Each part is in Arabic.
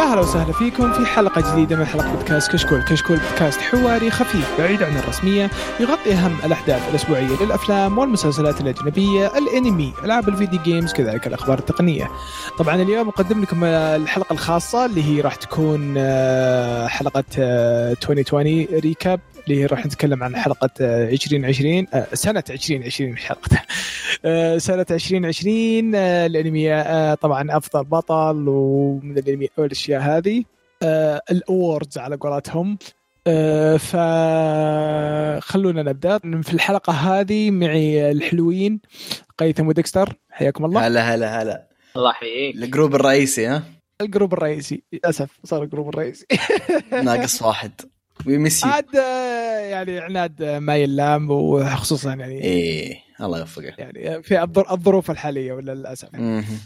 اهلا وسهلا فيكم في حلقه جديده من حلقه بودكاست كشكول، كشكول بودكاست حواري خفيف بعيد عن الرسميه يغطي اهم الاحداث الاسبوعيه للافلام والمسلسلات الاجنبيه، الانمي، العاب الفيديو جيمز، كذلك الاخبار التقنيه. طبعا اليوم اقدم لكم آه، الحلقه الخاصه اللي هي راح تكون آه، حلقه آه، 2020 ريكاب اللي هي راح نتكلم عن حلقه آه، 2020 آه، سنه 2020 مش حلقه آه، سنة 2020 آه، الأنمي آه، طبعا أفضل بطل ومن الأنمي والأشياء هذه آه، الأوردز على قولتهم آه، فخلونا نبدأ في الحلقة هذه معي الحلوين قيثم وديكستر حياكم الله هلا هلا هلا الله يحييك الجروب الرئيسي ها الجروب الرئيسي للأسف صار الجروب الرئيسي ناقص واحد وي ميس يو عاد آه، يعني عناد آه، ما يلام وخصوصا يعني ايه الله يوفقه يعني في الظر- الظروف الحالية ولا للأسف يعني. مهم.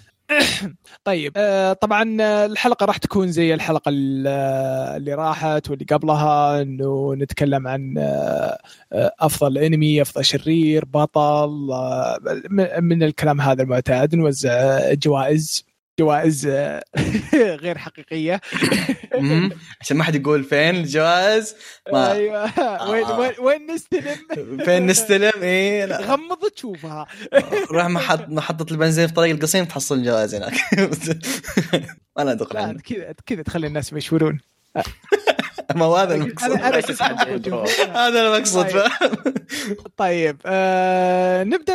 طيب آه، طبعا آه، الحلقه راح تكون زي الحلقه ال- آه، اللي راحت واللي قبلها انه نتكلم عن آه، آه، افضل انمي افضل شرير بطل آه، م- من الكلام هذا المعتاد نوزع آه، جوائز جوائز آه، غير حقيقيه مهم. عشان ما حد يقول فين الجواز ما- ايوه وين وين وين نستلم أيوه. فين نستلم ايه لا غمض تشوفها روح محط محطة البنزين في طريق القصيم تحصل الجواز هناك انا ادخل لا عنه أنت كذا أنت كذا تخلي الناس مشورون ما هو هذا المقصود انا انا كنت أحد أقول جمهور. هذا المقصود طيب. فاهم؟ طيب آه نبدا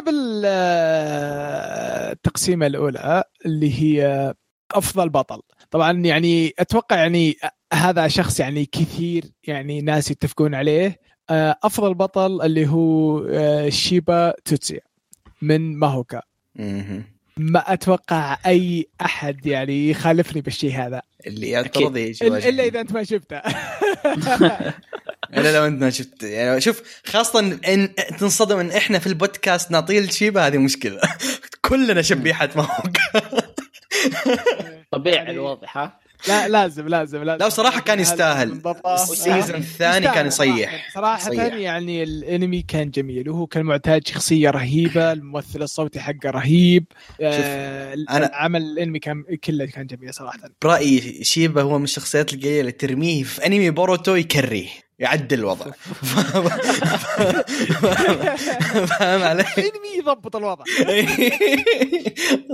بالتقسيمه الاولى اللي هي افضل بطل طبعا يعني اتوقع يعني هذا شخص يعني كثير يعني ناس يتفقون عليه آه افضل بطل اللي هو آه شيبا توتسيا من ماهوكا مهم. ما اتوقع اي احد يعني يخالفني بالشيء هذا اللي يعترض يجي إلا- واجهني. الا اذا انت ما شفته الا لو انت ما شفت يعني شوف خاصة ان تنصدم ان احنا في البودكاست نعطيه الشيبة هذه مشكلة كلنا شبيحة ماهوك طبيعي يعني- الوضع ها لا لازم لازم لازم لا، بصراحة كان يستاهل. بالضبط. السيزون الثاني كان يصيح صراحة يصيح. يعني الانمي كان جميل وهو كان معتاد شخصية رهيبة الممثل الصوتي حقه رهيب آه أنا- العمل الانمي كان كله كان جميل صراحة برأيي شيبة هو من الشخصيات القليلة اللي ترميه في انمي بوروتو يكريه يعدل الوضع فاهم علي؟ الانمي يضبط الوضع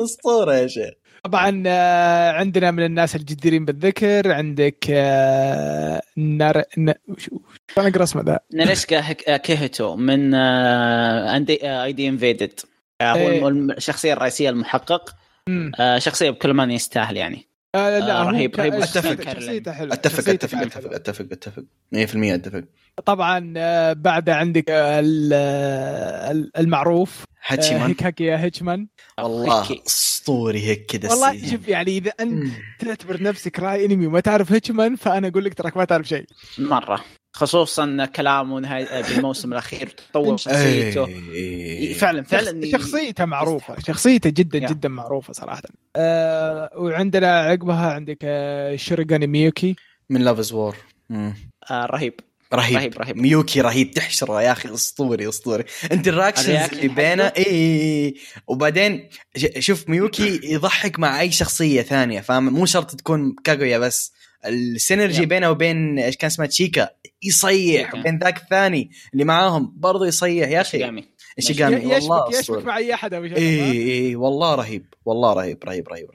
اسطورة يا شيخ طبعا آه، عندنا من الناس الجديرين بالذكر عندك آه، نار ن... وش- وش- انا اقرا اسمه ذا نانشكا هك- آه، كيهتو من آه، اي دي انفيدد آه، هو إيه. الم- الشخصيه الرئيسيه المحقق مم. آه، شخصيه بكل ما يستاهل يعني آه، لا آه، هو رهيب، كان- رهيب. شخصيته- أتفق. شخصيته حلوة. اتفق شخصيته اتفق كانت اتفق حلوة. اتفق اتفق 100% اتفق طبعا آه، بعد عندك آه، ال- آه، المعروف آه، هاتشيمان هيكاكي هيتشمان والله هيكي. اسطوري هيك كذا والله السيزون. شوف يعني اذا انت تعتبر نفسك راي انمي وما تعرف هيتشمان فانا اقول لك تراك ما تعرف شيء مره خصوصا كلامه نهاية آه، بالموسم الاخير تطور شخصيته إيه. فعلا فعلا شخصيته معروفه شخصيته جدا يا. جدا معروفه صراحه آه وعندنا عقبها عندك آه شيريغان ميوكي من لافز وور آه، رهيب رهيب رهيب- رهيب. ميوكي رهيب تحشره يا اخي اسطوري اسطوري انتراكشنز الرياكشن اللي بينه حقه. اي إي إي. وبعدين ش- شوف ميوكي يضحك مع اي شخصيه ثانيه فاهم مو شرط تكون كاغويا بس السينرجي يب. بينه وبين ايش كان اسمها تشيكا يصيح تشيكا. وبين ذاك الثاني اللي معاهم برضه يصيح يا اخي قامي شيجامي ي- يعني والله إيه. يشبك يشبك اسطوري مع اي احد او شيء اي اي والله رهيب والله رهيب رهيب رهيب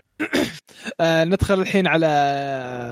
آه ندخل الحين على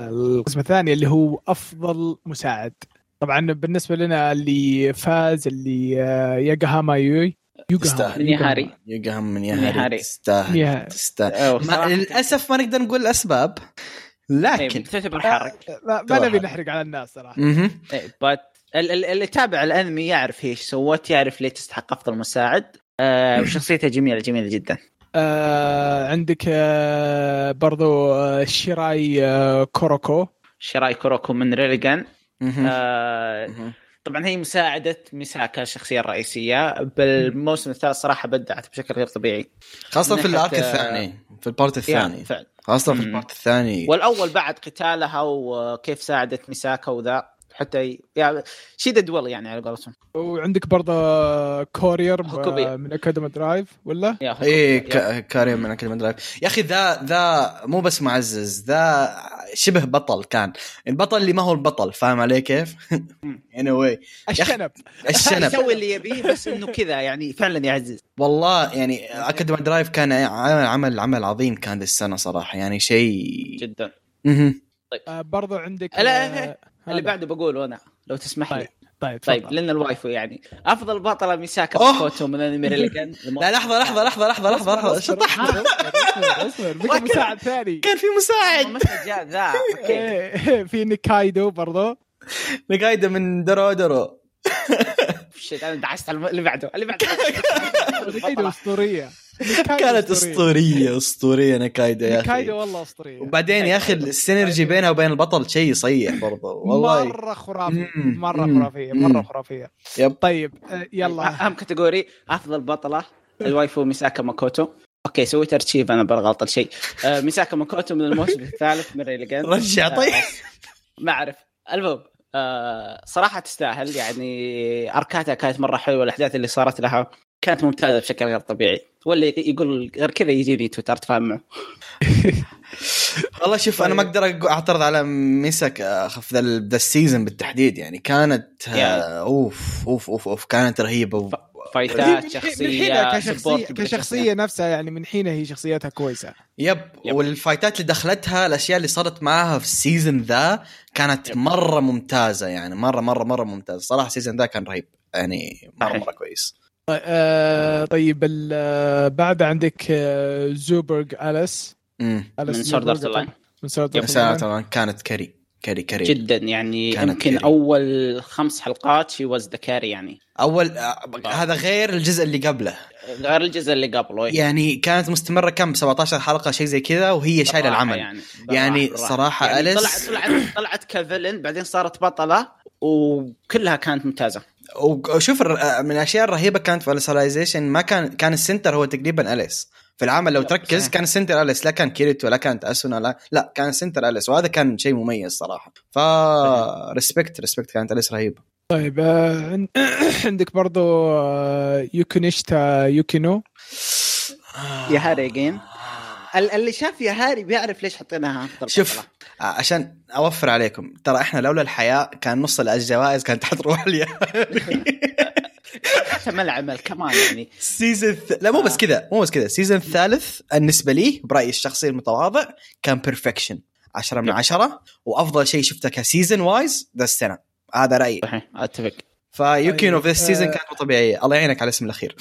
القسم الثاني اللي هو افضل مساعد طبعا بالنسبه لنا اللي فاز اللي آه ياغاهاما يوي تستاهل. نيهاري. يقهم من نيهاري. ياهاري تستاهل يا- تستاهل أوه، ما- صراحة. للاسف ما نقدر نقول الاسباب إيه، لكن تعتبر حرق ما, ما نبي واحد. نحرق على الناس صراحه مهم. إيه، بات اللي تابع الانمي يعرف هي ايش سوت يعرف ليه تستحق افضل مساعد آه، وشخصيته جميله جميله جدا آه عندك آه برضو آه شيراي آه كوروكو شراي كوروكو من ريليغان مهم. آه، مهم. طبعا هي مساعده ميساكا الشخصيه الرئيسيه بالموسم الثالث صراحه بدعت بشكل غير طبيعي خاصة في ناحية- الارك الثاني في البارت يا، الثاني فعلا خاصة في مم. البارت الثاني والاول بعد قتالها وكيف ساعدت ميساكا وذا حتى ي- يعني شيدد والله يعني على قولتهم وعندك برضه آه، كورير هوكوبي. آه، من اكاديمي درايف ولا؟ يا هو- إيه، ايه يا- ك- كاريم من اكاديمي درايف يا اخي ذا ذا مو بس معزز ذا شبه بطل كان البطل اللي ما هو البطل فاهم علي كيف؟ اني واي الشنب الشنب يسوي اللي يبيه بس انه كذا يعني فعلا يعزز والله يعني اكاديمي درايف كان عمل عمل عمل عظيم كان ذي السنه صراحه يعني شيء جدا مهم. آه، برضو عندك لا، آه، اللي هذا. بعده بقوله انا لو تسمح لي طيب طيب تفضل. لان الوايفو يعني افضل بطله ميساكا أوه. بوكوتو من انمي ريليجن لا لحظه لحظه لحظه لحظه لحظه لحظه اصبر، شطحت اصبر، اصبر، اصبر بقى وأكل. مساعد ثاني كان في مساعد المسج جاء ذا اوكي إيه، إيه، في نيكايدو برضو نقايده من درو درو شيت انا دعست على الم- اللي بعده اللي بعده نيكايدو اسطوريه نيكايدو كانت اسطوريه اسطوريه نكايده يا نيكايدو اخي والله اسطوريه وبعدين يا اخي السينرجي بينها وبين البطل شيء يصيح برضه والله مره خرافيه مم، مره مم، خرافيه مره مم. خرافيه يب. طيب آه، يلا اهم أه، كاتيجوري افضل بطله الوايفو ميساكا ماكوتو اوكي سويت ارشيف انا بالغلط الشيء آه، ميساكا ماكوتو من الموسم الثالث من ريليجن رجع طيب ما اعرف المهم آه صراحه تستاهل يعني اركاتها كانت مره حلوه الاحداث اللي صارت لها كانت ممتازه بشكل غير طبيعي واللي يقول غير كذا يجيني تويتر تفهم معه والله شوف انا ما طيب. اقدر أق- اعترض على ميسك آه، في ذا ال- ذا السيزون بالتحديد يعني كانت آه، يعني. اوف اوف اوف اوف كانت رهيبه و- فايتات من حينها شخصيه كشخصيه support كشخصيه نفسها يعني من حينها هي شخصيتها كويسه يب, يب. والفايتات اللي دخلتها الاشياء اللي صارت معاها في السيزون ذا كانت يب. مره ممتازه يعني مره مره مره ممتازه صراحه السيزون ذا كان رهيب يعني مره صحيح. مره كويس آه، طيب ال- آه، بعد عندك آه، زوبرج اليس امم أليس من سورد زوبرج ارت لاين من سورد يا سلام طبعاً، كانت كري كري كري جدا يعني طيب. كانت يمكن كاري. اول خمس حلقات شي واز ذا كاري يعني اول طيب. آه، هذا غير الجزء اللي قبله غير الجزء اللي قبله يعني كانت مستمره كم 17 حلقه شيء زي كذا وهي شايله بالراحة العمل يعني, يعني بالراحة- صراحة يعني أليس- طلعت طلعت طلعت كفيلن بعدين صارت بطله وكلها كانت ممتازه وشوف الر- من الاشياء الرهيبه كانت في السولايزيشن ما كان كان السنتر هو تقريبا اليس في العمل لو يب، تركز طيب، صحيح. كان السنتر اليس لا كان كيريتو لا كانت اسونا لا لا كان السنتر اليس وهذا كان شيء مميز صراحه ف ريسبكت ريسبكت كانت اليس رهيبه طيب آه، عن- عندك برضو آه، يوكونيشتا يوكينو يا هاري جيم ال- اللي شاف يا هاري بيعرف ليش حطيناها افضل شوف بطلة. عشان اوفر عليكم ترى احنا لولا الحياه كان نص الجوائز كانت حتروح لي حتى ما العمل كمان يعني السيزون الث... لا مو آه. بس كذا مو بس كذا السيزون الثالث بالنسبه لي برايي الشخصي المتواضع كان بيرفكشن 10 نعم. من 10 وافضل شيء شفته كسيزون وايز ذا السنه هذا رايي صحيح اتفق فيوكينو في طيب، السيزون آه. كانت مو طبيعيه الله يعينك على الاسم الاخير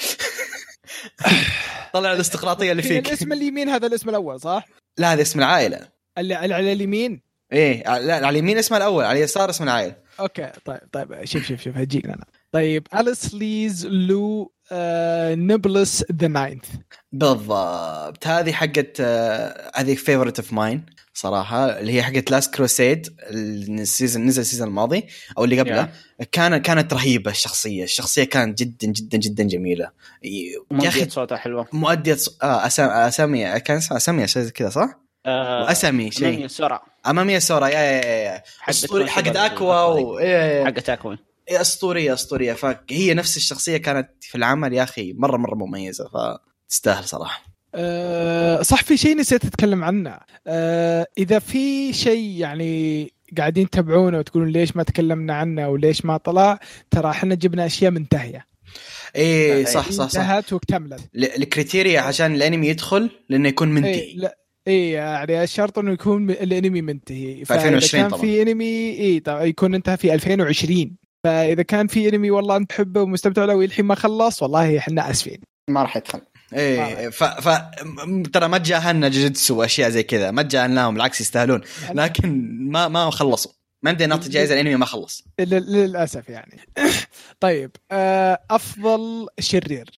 طلع الاستقراطيه اللي في فيك الاسم اليمين هذا الاسم الاول صح؟ لا هذا اسم العائله اللي اللي على اليمين ايه لا على اليمين اسمه الاول على اليسار اسم العائله اوكي طيب طيب شوف شوف شوف هجيك انا طيب اليس ليز لو آه، نبلس ذا ناينث بالضبط هذه حقت آه، هذه فيفورت اوف ماين صراحه اللي هي حقت لاست كروسيد السيزون نزل السيزون الماضي او اللي قبله كان كانت رهيبه الشخصيه الشخصيه كانت جدا جدا جدا جميله يا اخي مدية صوتها حلوه مؤدية ص- آه أسا- اسامي كان اسمها اسامي شيء زي كذا صح؟ آه، اسامي أمامي شيء سرعة امامية سورا يا يا يا- يا اسطوري حقت اكوا و... يا- يا- يا. حقت اكوا إيه، اسطوريه اسطوريه فهي نفس الشخصيه كانت في العمل يا اخي مره مره مميزه فتستاهل صراحه آه، صح في شيء نسيت اتكلم عنه آه، اذا في شيء يعني قاعدين تتابعونه وتقولون ليش ما تكلمنا عنه وليش ما طلع ترى احنا جبنا اشياء منتهيه ايه صح صح صح انتهت واكتملت ال- الكريتيريا عشان الانمي يدخل لانه يكون اي منتهي إيه، لا اي يعني الشرط انه يكون م- الانمي منتهي فإذا 2020 كان طبعاً. في انمي اي طبعا يكون انتهى في 2020 فاذا كان في انمي والله انت تحبه ومستمتع له والحين ما خلص والله احنا اسفين ما راح يدخل ايه ف, ف... م- ترى ما تجاهلنا جوجيتسو واشياء زي كذا ما تجاهلناهم بالعكس يستاهلون لكن ما ما خلصوا ما عندنا نعطي جائزه الانمي ما خلص لل- للاسف يعني طيب آه، افضل شرير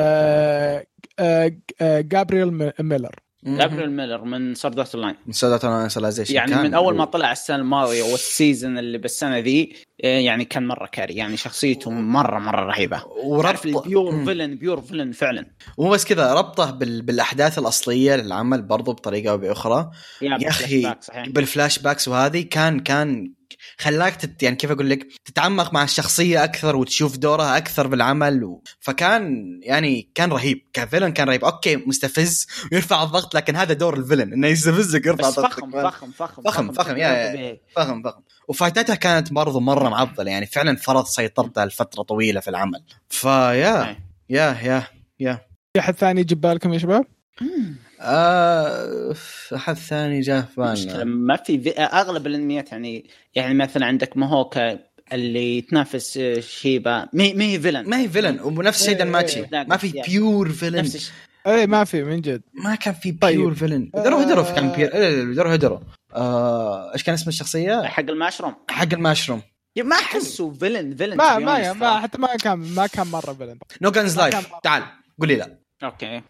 آه، آه، آه، جابرييل م- ميلر جابريل ميلر من سردات اللاين من سودات سولازيشن يعني من اول ما طلع السنه الماضيه والسيزون اللي بالسنه ذي يعني كان مره كاري يعني شخصيته مره مره رهيبه عارف وربط البيور مم. فيلن بيور فيلن فعلا مو بس كذا ربطه بال... بالاحداث الاصليه للعمل برضو بطريقه او باخرى يا أخي، flashback صحيح بالفلاش باكس وهذه كان كان خلاك تت يعني كيف اقول لك تتعمق مع الشخصيه اكثر وتشوف دورها اكثر بالعمل و... فكان يعني كان رهيب كفيلن كان رهيب اوكي مستفز ويرفع الضغط لكن هذا دور الفيلن انه يستفزك يرفع بس ضغطك فخم فخم فخم فخم- فخم، يا- غير طبيعي. فاهم فاهم وفايتاتها كانت برضو مره معضله يعني فعلا فرض سيطرتها لفتره طويله في العمل فيا أي. يا يا في احد ثاني يجيب بالكم يا شباب؟ مم. آه، احد ثاني جاء في مشكلة بالنا ما في في اغلب الانميات يعني يعني مثلا عندك ماهوكا اللي تنافس آه، شيبا ما هي- ما هي فيلن ما هي فيلن ونفس الشيء إيه، دانماتشي إيه، ما في يعني. بيور فيلن نفس الشيء اي إيه، ما في من جد ما كان في طيب. بيور فيلن درو هدرو آه. كان إيه، بيور لا، لا، لا، درو هدرو آه، ايش كان اسم الشخصيه؟ حق المشروم حق الماشروم يا ما احسه فيلن فيلن ما to be ما honest. ما حتى ما كان ما كان مره بلند نو جانز ما لايف كان- تعال قول لي لا اوكي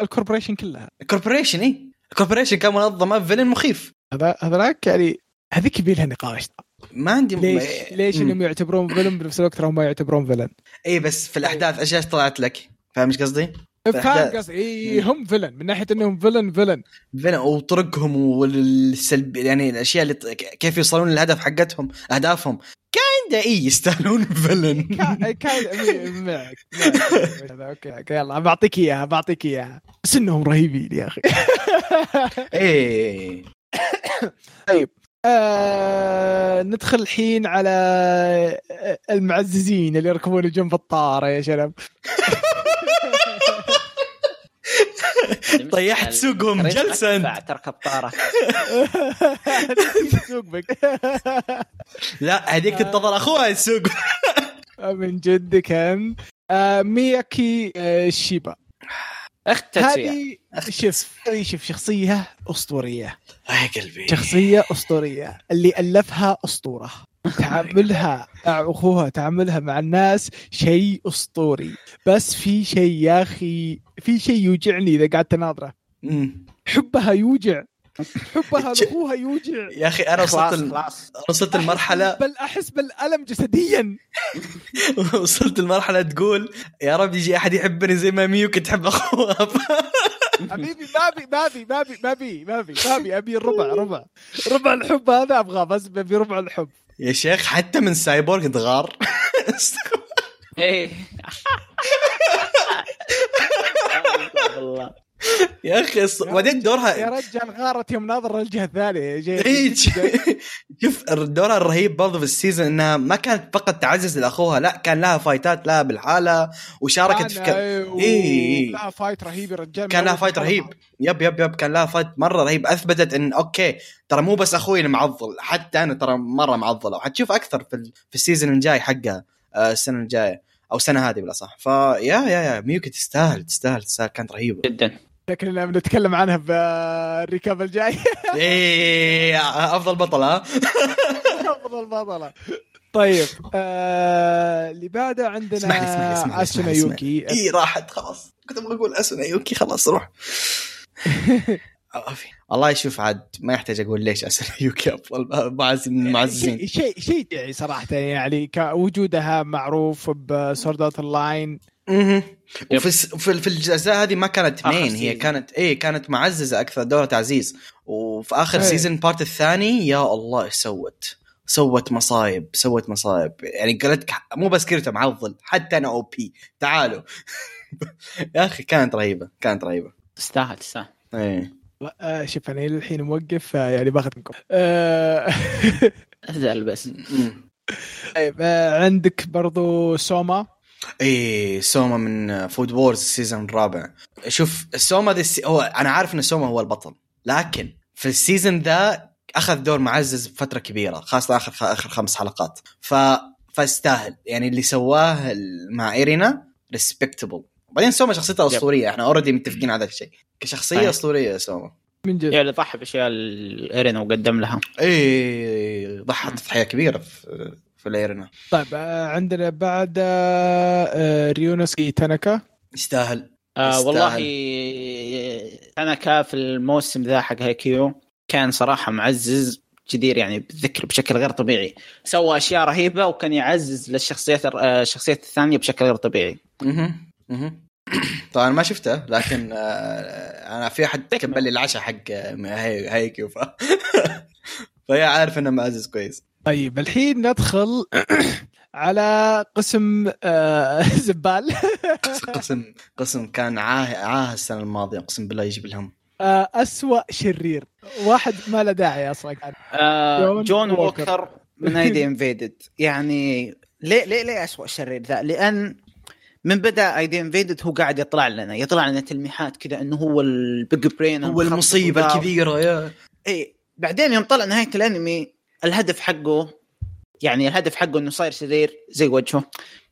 الكوربوريشن كلها كوربوريشن اي كوربوريشن إيه؟ كان منظمه فيلن مخيف هذا هذاك يعني هذيك يبي لها نقاش ما عندي إيه، ليش ليش مم. انهم يعتبرون فيلم بنفس الوقت هم ما يعتبرون فيلن اي إيه، بس في الاحداث اشياء طلعت لك فاهم ايش قصدي؟ فاهم قصدي إي، هم فيلن من ناحيه انهم فيلن فيلن فيلن وطرقهم والسلب يعني الاشياء اللي ت- كيف يوصلون للهدف حقتهم اهدافهم كان اي يستاهلون فيلن كا- كان معك معك. اوكي أوكي، يلا بعطيك اياها بعطيك اياها بس انهم رهيبين يا اخي اي آه، ندخل الحين على آه، المعززين اللي يركبون جنب الطاره يا شباب طيحت سوقهم جلسا أنت. أدفع، تركب طاره سوق بك لا هذيك تنتظر اخوها السوق من جد كان آه، مياكي آه، شيبا اخت تاتسويا هذه شوف هذه شوف شخصيه اسطوريه يا قلبي شخصيه اسطوريه اللي الفها اسطوره تعاملها مع اخوها تعاملها مع الناس شيء اسطوري بس في شيء يا اخي في شيء يوجعني اذا قعدت اناظره أمم. حبها يوجع حبها لاخوها يوجع يا اخي انا خلاص وصلت ال- خلاص وصلت المرحله بل احس بالالم جسديا وصلت المرحله تقول يا رب يجي احد يحبني زي ما ميوك تحب اخوها حبيبي ما بي ما بي ما بي ما بي ما بي ما بي ابي الربع ربع ربع الحب هذا ابغاه بس ابي ربع الحب يا شيخ حتى من سايبورغ تغار ايه والله يا اخي الص- وبعدين يا دورها رجال غارت يوم ناظر الجهه الثانيه يا شيخ اي شوف دورها الرهيب برضه في السيزون انها ما كانت فقط تعزز لاخوها لا كان لها فايتات لها بالحاله وشاركت في ك... إي. اي لها فايت رهيب يا رجال كان لها فايت رهيب يب يب يب كان لها فايت مره رهيب اثبتت ان اوكي ترى مو بس اخوي اللي معضل حتى انا ترى مره معضله وحتشوف اكثر في, ال... في السيزون الجاي حقها آه، السنه الجايه او السنه هذه بلا صح فيا يا يا ميوكي تستاهل تستاهل تستاهل كانت رهيبه جدا شكلنا بنتكلم عنها بالركاب الجاي ايه افضل بطل ها افضل بطله طيب آه، اللي بعده اسمح لي، اسمح لي، اسمح عندنا لي، اسمح اسنا لي، يوكي اي إيه، راحت خلاص كنت ابغى اقول اسنا يوكي خلاص روح عافية. الله يشوف عاد ما يحتاج اقول ليش اسنا يوكي افضل معز من المعززين شيء شيء شيء يعني صراحه يعني كوجودها معروف بسوردات اللاين مهم. وفي الس- في في الجزء هذه ما كانت آخر مين هي سيزن. كانت اي كانت معززه اكثر دورة تعزيز وفي اخر إيه. سيزون بارت الثاني يا الله ايش سوت سوت مصايب سوت مصايب يعني قالت ك- مو بس كيرتو معضل حتى انا او بي تعالوا يا اخي كانت رهيبه كانت رهيبه تستاهل تستاهل ايه آه، شوف انا إلى الحين موقف آه، يعني باخذ منكم آه، ازعل بس مم. طيب آه، عندك برضو سوما ايه سوما من فود وورز السيزون الرابع شوف سوما ذا السي... هو انا عارف ان سوما هو البطل لكن في السيزون ذا اخذ دور معزز بفتره كبيره خاصه اخر اخر خمس حلقات ف فاستاهل يعني اللي سواه ال- مع ايرينا ريسبكتبل بعدين سوما شخصيته اسطوريه احنا اوريدي متفقين على ذا الشيء كشخصيه صحيح. اسطوريه سوما من جد يعني ضحى باشياء الايرين وقدم لها ايه ضحت تضحيه كبيره في في الايرينا طيب آه، عندنا بعد آه، آه، ريونسكي تاناكا يستاهل آه يستاهل. والله آه، انا كان في الموسم ذا حق هايكيو كان صراحه معزز جدير يعني بالذكر بشكل غير طبيعي سوى اشياء رهيبه وكان يعزز للشخصيات الر- الشخصيات الثانيه بشكل غير طبيعي مهم. مهم. طبعا ما شفته لكن آه، انا في احد كبل لي العشاء حق آه، هاي هايكيو ف... فهي عارف انه معزز كويس طيب الحين ندخل على قسم آه، زبال قسم قسم كان عاه عاه السنه الماضيه اقسم بالله يجيب الهم آه، أسوأ شرير واحد ما له داعي اصلا كان آه جون جون ووكر. ووكر من ايدي انفيدد يعني ليه ليه ليه اسوء شرير ذا؟ لان من بدا ايدي انفيدد هو قاعد يطلع لنا يطلع لنا تلميحات كذا انه هو البيج برين هو المصيبه الكبيرة الكبيره يا اي إيه، بعدين يوم طلع نهايه الانمي الهدف حقه يعني الهدف حقه انه صاير شرير زي وجهه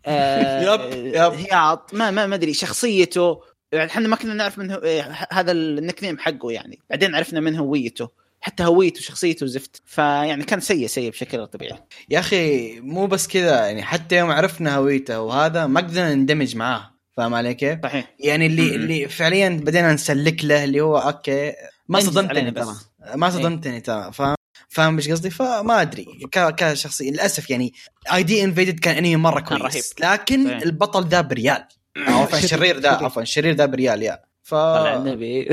آه يب، يب. هياط ما ما ما ادري شخصيته يعني احنا ما كنا نعرف من هو إيه، ه- هذا النكنيم حقه يعني بعدين عرفنا من هويته حتى هويته وشخصيته زفت فيعني يعني كان سيء سيء بشكل غير طبيعي يا اخي مو بس كذا يعني حتى يوم عرفنا هويته وهذا ما قدرنا نندمج معاه فاهم علي كيف؟ صحيح يعني اللي مم. اللي فعليا بدينا نسلك له اللي هو اوكي ما أنجز صدمتني علينا ترى بس. ما إيه. صدمتني ترى فاهم فاهم ايش قصدي فما ادري ك- كشخصي للاسف يعني اي دي انفيدد كان انمي مره كان كويس رهيب. لكن إيه. البطل ذا بريال عفوا الشرير ذا شرير. عفوا الشرير ذا بريال يا ف طلع النبي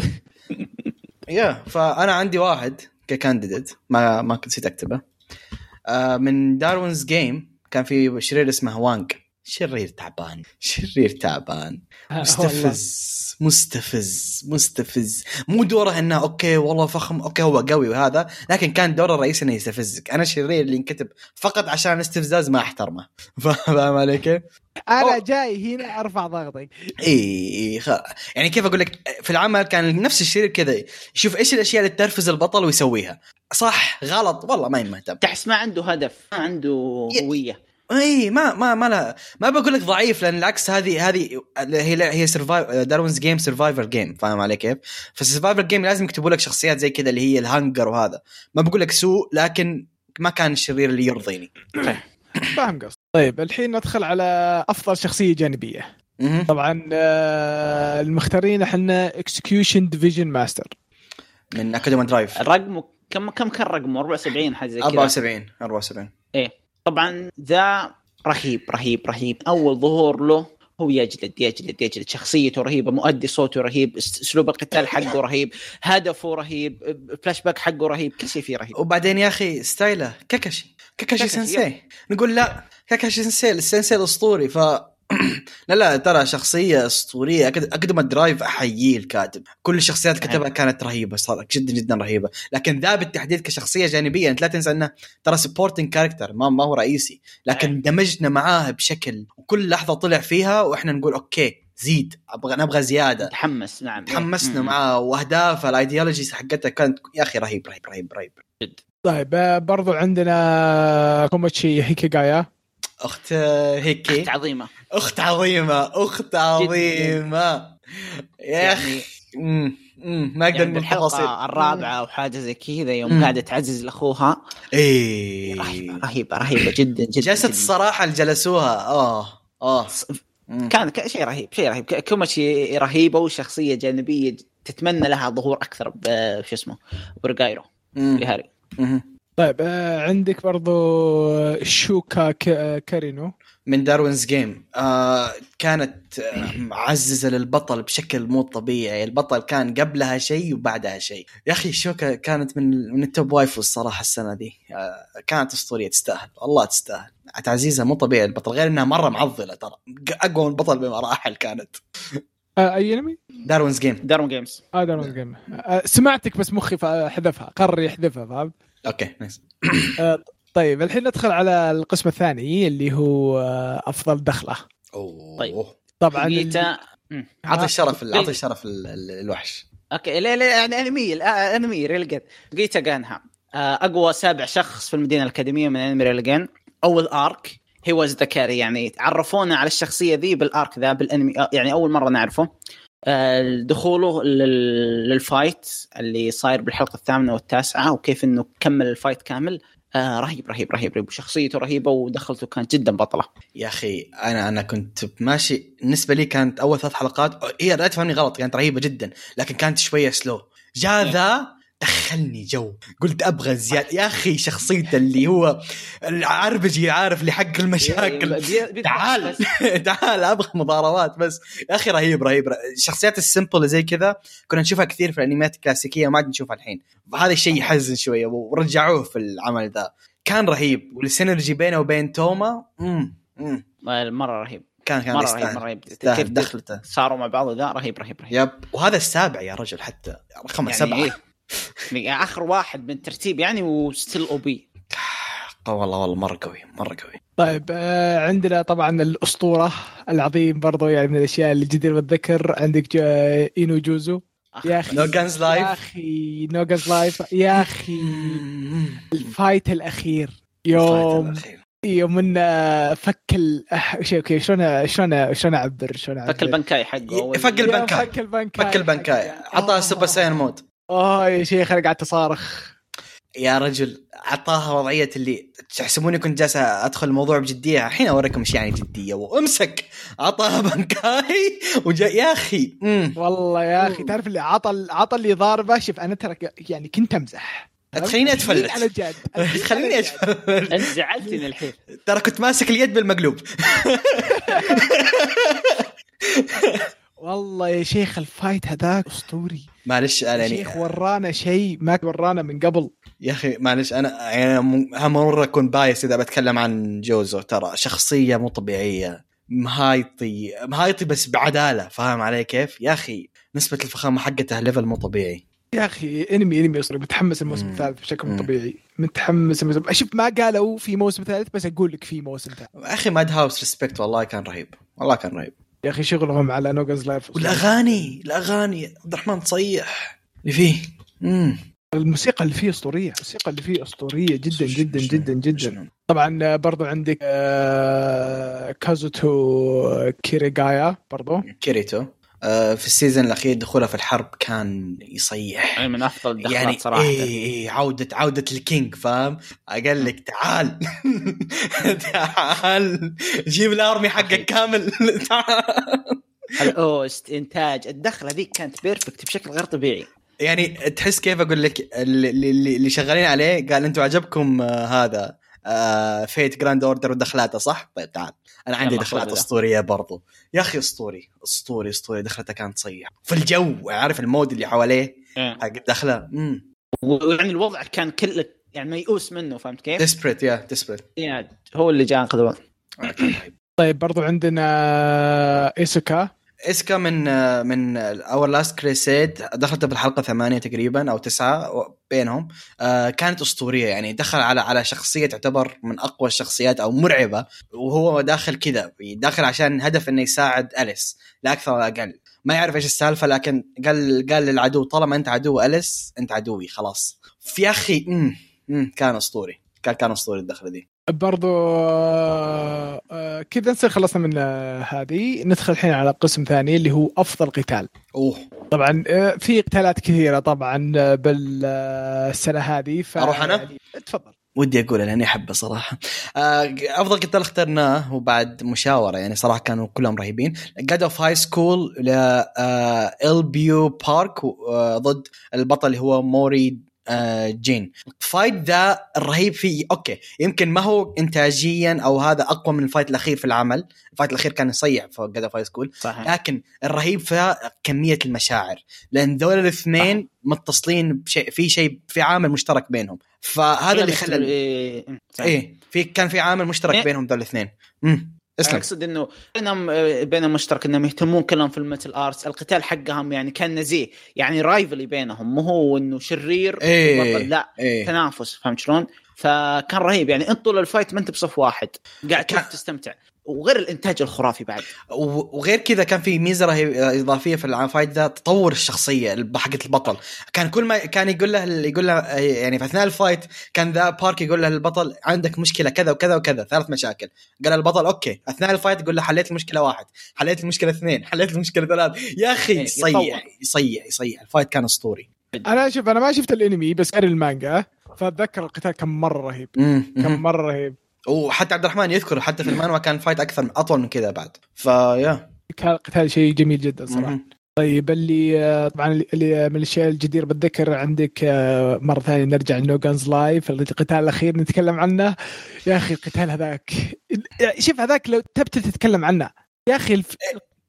يا فانا عندي واحد ككانديديت ما ما كنت نسيت اكتبه آه، من داروينز جيم كان في شرير اسمه وانج شرير تعبان شرير تعبان مستفز مستفز مستفز مو دوره انه اوكي والله فخم اوكي هو قوي وهذا لكن كان دوره الرئيسي انه يستفزك انا الشرير اللي انكتب فقط عشان الاستفزاز ما احترمه فاهم علي كيف؟ انا جاي هنا ارفع ضغطك اي خ... يعني كيف اقول لك في العمل كان نفس الشرير كذا يشوف ايش الاشياء اللي تنرفز البطل ويسويها صح غلط والله ما مهتم تحس ما عنده هدف ما عنده ي- هويه اي ما ما ما لا ما بقول لك ضعيف لان العكس هذه هذه هي لا هي سرفايف داروينز جيم سرفايفر جيم فاهم علي كيف؟ فالسرفايفر جيم لازم يكتبوا لك شخصيات زي كذا اللي هي الهنجر وهذا ما بقول لك سوء لكن ما كان الشرير اللي يرضيني فاهم قصدي طيب الحين ندخل على افضل شخصيه جانبيه مهم. طبعا آه، المختارين احنا اكسكيوشن ديفيجن ماستر من اكاديمي درايف رقمه كم كم كان رقمه 74 حاجه زي كذا 74 74 ايه طبعا ذا رهيب رهيب رهيب اول ظهور له هو يجلد يجلد يجلد شخصيته رهيبه مؤدي صوته رهيب اس- اسلوب القتال حقه رهيب هدفه رهيب الفلاش باك حقه رهيب كل شيء فيه رهيب وبعدين يا اخي ستايله كاكاشي كاكاشي كاكاشي، سensei نقول لا كاكاشي سنسي السنسي الاسطوري ف لا لا ترى شخصية اسطورية أكد- اقدم الدرايف احييه الكاتب، كل الشخصيات اللي كتبها كانت رهيبة صارت جدا جدا رهيبة، لكن ذا بالتحديد كشخصية جانبية انت لا تنسى انه ترى سبورتنج كاركتر ما, ما هو رئيسي، لكن دمجنا معاه بشكل وكل لحظة طلع فيها واحنا نقول اوكي زيد ابغى نبغى زيادة، تحمس نعم تحمسنا مم. معاه واهدافه الايديولوجيز حقتها كانت يا اخي رهيب رهيب رهيب رهيب طيب آه، برضو عندنا كوماتشي هيكيغايا اخت هيكي أخت عظيمه اخت عظيمه اخت عظيمه يا اخي يعني, أمم، أمم، ما اقدر يعني من إيه، التفاصيل الحلقه الرابعه او حاجه زي كذا مم. يوم قاعده تعزز لاخوها رهيبه ايه رهيبه رهيبه جدا جدا جلسه جداً. الصراحه اللي جلسوها اه اه أمم. كان كان شيء رهيب شيء رهيب ك- كوماتشي رهيبه وشخصيه جانبيه تتمنى لها ظهور اكثر ب- شو اسمه برجايرو أمم، لهاري أمم. طيب آه، عندك برضو آه، شوكا ك- آه، كارينو من داروينز جيم آه كانت آه، معززه للبطل بشكل مو طبيعي البطل كان قبلها شيء وبعدها شيء يا اخي شوكا كانت من من التوب وايفو الصراحه السنه دي آه كانت اسطوريه تستاهل والله تستاهل تعزيزها مو طبيعي البطل غير انها مره معضله ترى اقوى من البطل بمراحل كانت آه، اي انمي؟ داروينز جيم دارون جيمز هذا آه جيم آه، سمعتك بس مخي فا- حذفها قرر يحذفها فاهم؟ اوكي نايس آه، طيب الحين ندخل على القسم الثاني اللي هو آه، افضل دخله اوه طيب. طبعا ال- نيتا عطي الشرف عطي الشرف ال- ال- الوحش اوكي لا لا يعني انمي الآ- انمي ريل جن جيتا جانها آه، اقوى سابع شخص في المدينه الاكاديميه من انمي ريل جن اول ارك هي واز ذا كاري يعني عرفونا على الشخصيه ذي بالارك ذا بالانمي آه، يعني اول مره نعرفه آه، دخوله لل- للفايت اللي صاير بالحلقه الثامنه والتاسعه وكيف انه كمل الفايت كامل آه، رهيب رهيب رهيب رهيب وشخصيته رهيبه ودخلته كانت جدا بطله يا اخي انا انا كنت ماشي بالنسبه لي كانت اول ثلاث حلقات هي لا تفهمني غلط كانت رهيبه جدا لكن كانت شويه سلو جاء ذا دخلني جو قلت ابغى زياده يا اخي شخصيته اللي هو العربجي عارف اللي حق المشاكل تعال تعال ابغى مضاربات بس يا اخي رهيب رهيب الشخصيات السمبل زي كذا كنا نشوفها كثير في الانميات الكلاسيكيه ما عاد نشوفها الحين هذا الشيء يحزن شويه ورجعوه في العمل ذا كان رهيب والسينرجي بينه وبين توما امم مره رهيب كان كان مره يعني يستاهل. رهيب مره رهيب يستاهل كيف دخلته صاروا مع بعض وذا رهيب رهيب رهيب يب وهذا السابع يا رجل حتى رقم يعني سبعه إيه؟ يعني اخر واحد من ترتيب يعني وستيل او بي آه، والله والله مره قوي مره قوي طيب آه عندنا طبعا الاسطوره العظيم برضو يعني من الاشياء اللي جدير بالذكر عندك جا- اينو جوزو يا اخي No Guns Live. يا اخي نو جانز لايف يا اخي الفايت الاخير يوم يوم انه فك ال أح- شو- اوكي شلون شلون شلون اعبر شلون اعبر فك البنكاي حقه فك البنكاي. يا فك البنكاي فك البنكاي عطاها سوبر ساين مود اوه يا شيخ انا قعدت اصارخ يا رجل اعطاها وضعيه اللي تحسبوني كنت جالس ادخل الموضوع بجديه الحين اوريكم ايش يعني جديه وامسك اعطاها بنكاي وجا يا اخي مم. والله يا اخي تعرف اللي عطى ال- عطى اللي ضاربه شوف انا ترى يعني كنت امزح تخليني أتفلت. على جد خليني اشوف انت زعلتني الحين ترى كنت ماسك اليد بالمقلوب والله يا شيخ الفايت هذاك اسطوري معلش انا يا يعني شيخ ورانا شيء ما ورانا من قبل يا اخي معلش انا يعني م- هم مره اكون بايس اذا بتكلم عن جوزو ترى شخصيه مو طبيعيه مهايطي مهايطي بس بعداله فاهم علي كيف؟ يا اخي نسبه الفخامه حقته ليفل مو طبيعي يا اخي انمي انمي اسطوري متحمس الموسم مم. الثالث بشكل مم. مو طبيعي متحمس الموسم اشوف ما قالوا في موسم ثالث بس اقول لك في موسم ثالث اخي ماد هاوس ريسبكت والله كان رهيب والله كان رهيب يا اخي شغلهم على نوغز لايف والاغاني الاغاني عبد الرحمن تصيح اللي فيه امم الموسيقى اللي فيه اسطوريه الموسيقى اللي فيه اسطوريه جدا جدا جدا جدا طبعا آه، برضو عندك آه، كازوتو كيريغايا برضو كيريتو آه، في السيزون الاخير دخوله في الحرب كان يصيح يعني من افضل الدخلات يعني صراحه إيه إيه عودة عودة الكينج فاهم؟ قال لك تعال تعال جيب الارمي حقك كامل تعال الاوست انتاج الدخله ذيك كانت بيرفكت بشكل غير طبيعي يعني تحس كيف اقول لك اللي, اللي اللي شغالين عليه قال انتم عجبكم آه، هذا آه، فيت جراند اوردر ودخلاته صح؟ طيب تعال انا عندي يلا، دخلات خذ ده. اسطوريه برضو يا اخي اسطوري اسطوري اسطوري دخلته كانت تصيح في الجو عارف المود اللي حواليه إيه. حق الدخله امم ويعني الوضع كان كله يعني ميؤوس منه فهمت كيف؟ ديسبريت يا آه، ديسبريت يعني هو اللي جاء انقذ الوضع طيب برضو آه، عندنا ايسوكا اسكا من من اور لاست كريسيد دخلت بالحلقه ثمانية تقريبا او تسعة و- بينهم آه، كانت اسطوريه يعني دخل على على شخصيه تعتبر من اقوى الشخصيات او مرعبه وهو داخل كذا داخل عشان هدف انه يساعد اليس لا اكثر ولا اقل ما يعرف ايش السالفه لكن قال قال للعدو طالما انت عدو اليس انت عدوي خلاص في اخي مم، مم، كان اسطوري كان كان اسطوري الدخله دي برضو آه، آه، كذا نصير خلصنا من آه، هذه ندخل الحين على قسم ثاني اللي هو افضل قتال اوه طبعا آه، في قتالات كثيره طبعا آه، بالسنه هذه ف... أروح أنا؟ تفضل ودي اقول لاني احبه صراحه آه، افضل قتال اخترناه وبعد مشاوره يعني صراحه كانوا كلهم رهيبين جاد اوف هاي سكول ل آه، ال بيو بارك آه، ضد البطل اللي هو موري آه، جين الفايت ذا الرهيب فيه اوكي يمكن ما هو انتاجيا او هذا اقوى من الفايت الاخير في العمل الفايت الاخير كان يصيح في جاد اوف هاي سكول صحيح لكن الرهيب فيها كميه المشاعر لان ذول الاثنين متصلين بشيء في شيء في عامل مشترك بينهم فهذا اللي خلى ايه ايه في كان في عامل مشترك إيه. بينهم ذول الاثنين امم اسلم اقصد انه بينهم آه، بينهم مشترك انهم يهتمون كلهم في الميتال ارتس القتال حقهم يعني كان نزيه يعني رايفلي بينهم مو هو انه شرير إيه. وبطل، لا ايه تنافس فهمت شلون؟ فكان رهيب يعني انت طول الفايت ما انت بصف واحد قاعد تشوف كان- تستمتع وغير الانتاج الخرافي بعد و- وغير كذا كان في ميزه رهي- اضافيه في الفايت ذا تطور الشخصيه الب- حقت البطل كان كل ما كان يقول له يقول له يعني في اثناء الفايت كان ذا بارك يقول له البطل عندك مشكله كذا وكذا وكذا ثلاث مشاكل قال البطل اوكي اثناء الفايت يقول له حليت المشكله واحد حليت المشكله اثنين حليت المشكله ثلاث يا اخي إيه، يتطور. يصيح يصيح يصيح الفايت كان اسطوري انا شوف انا ما شفت الانمي بس قاري المانجا فاتذكر القتال كان مره رهيب مم، مم. كان مره رهيب وحتى عبد الرحمن يذكر حتى في المانوا كان فايت اكثر من اطول من كذا بعد فيا كان قتال شيء جميل جدا صراحه مم. طيب اللي آه، طبعا اللي من الاشياء الجدير بالذكر عندك آه، مره ثانيه نرجع لنو جانز لايف القتال الاخير نتكلم عنه يا اخي القتال هذاك شوف هذاك لو تبت تتكلم عنه يا اخي الف...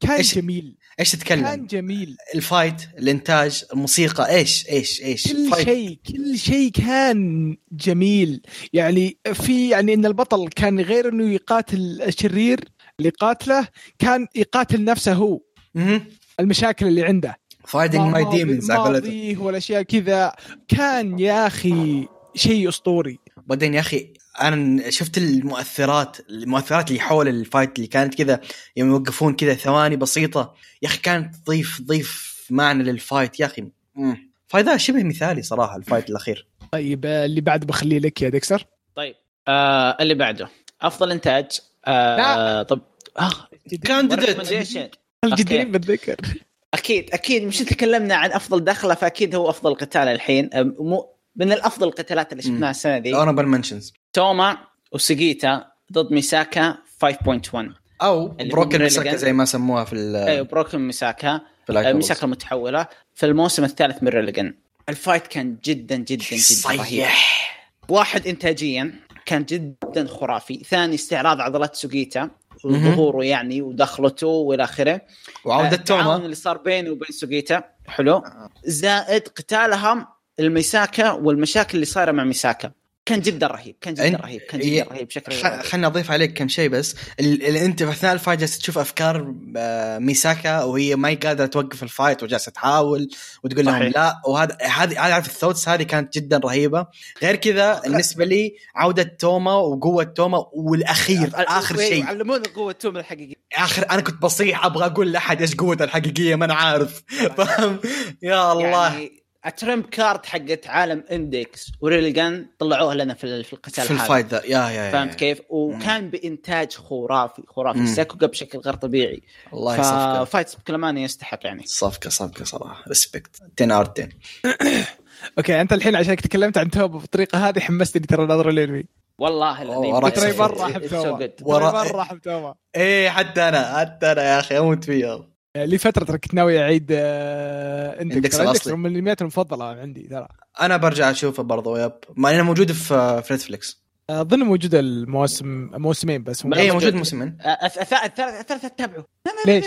كان إيش- جميل ايش كان تتكلم؟ جميل الفايت، الانتاج، الموسيقى، ايش ايش ايش؟ كل فايت. شيء كل شيء كان جميل يعني في يعني ان البطل كان غير انه يقاتل الشرير اللي قاتله كان يقاتل نفسه هو مهم. المشاكل اللي عنده فايتنج ماي ديمونز على قولتهم. ماضيه والاشياء كذا كان يا اخي شيء اسطوري بعدين يا اخي انا شفت المؤثرات المؤثرات اللي حول الفايت اللي كانت كذا يوم يوقفون كذا ثواني بسيطه يا اخي كانت تضيف تضيف معنى للفايت يا اخي مم. فايدة شبه مثالي صراحه الفايت الاخير طيب آه، اللي بعد بخليه لك يا ديكسر طيب آه اللي بعده افضل انتاج آه لا. طب آه كانديديت recommendation. الجدير أوكي. بالذكر اكيد اكيد مش تكلمنا عن افضل دخله فاكيد هو افضل قتال الحين أم- مو من الافضل القتالات اللي شفناها السنه دي اونبل منشنز توما وسجيتا ضد ميساكا 5.1 او اللي بروكن هم مسكه Milligan. زي ما سموها في ال ايوه بروكن ميساكا آه. في آه، الأكل. ميساكا المتحوله في الموسم الثالث من ريليجن الفايت كان جدا جدا جدا رهيب صيح واحد انتاجيا كان جدا خرافي ثاني استعراض عضلات سوجيتا مهم. وظهوره يعني ودخلته والى اخره وعوده التعاون توما اللي صار بينه وبين سوجيتا حلو زائد قتالهم الميساكا والمشاكل اللي صايره مع ميساكا كان جدا رهيب كان جدا أنت- رهيب كان إيه. جدا رهيب بشكل غير خ- عادي. خلنا اضيف عليك كم شيء بس ال- ال- انت في اثناء الفايت جالس تشوف افكار آه، ميساكا وهي ما هي قادره توقف الفايت وجالسه تحاول وتقول لهم صحيح. لا وهذا هذه هذه عارف الثوتس هذه كانت جدا رهيبه غير كذا بالنسبه لي عوده توما وقوه توما والاخير اخر شيء علمونا قوه توم الحقيقيه اخر انا كنت بصيح ابغى اقول لاحد ايش قوته الحقيقيه ما انا عارف فاهم يا الله يعني الترمب كارد حقت عالم اندكس وريلجان طلعوها لنا في في القتال في هذا. الفايت ذا يا يا- يا فهمت كيف؟ وكان بانتاج خرافي خرافي مم. ساكوغا بشكل غير طبيعي الله يصفقه ففايت بكلماني يستحق يعني صفقه صفقه صراحه ريسبكت 10 اوت 10 اوكي انت الحين عشانك تكلمت عن توب بالطريقه هذه حمستني ترى ناظر الانمي والله العظيم وراك ترى صفر. مره احب It's so توما good. ترى ورا- مره احب توما ايه حتى انا حتى انا يا اخي اموت فيه آه، لي فتره ترى كنت ناوي اعيد آه، اندكس إندكس ترى إندكس الأصلي. من الانميات المفضله عندي ترى انا برجع اشوفه برضه يب مع انه موجود في في نتفلكس آه، اظن موجوده المواسم موسمين بس ما- ايه موجود. موجود موسمين أه، الثالثة تتابعه ليش؟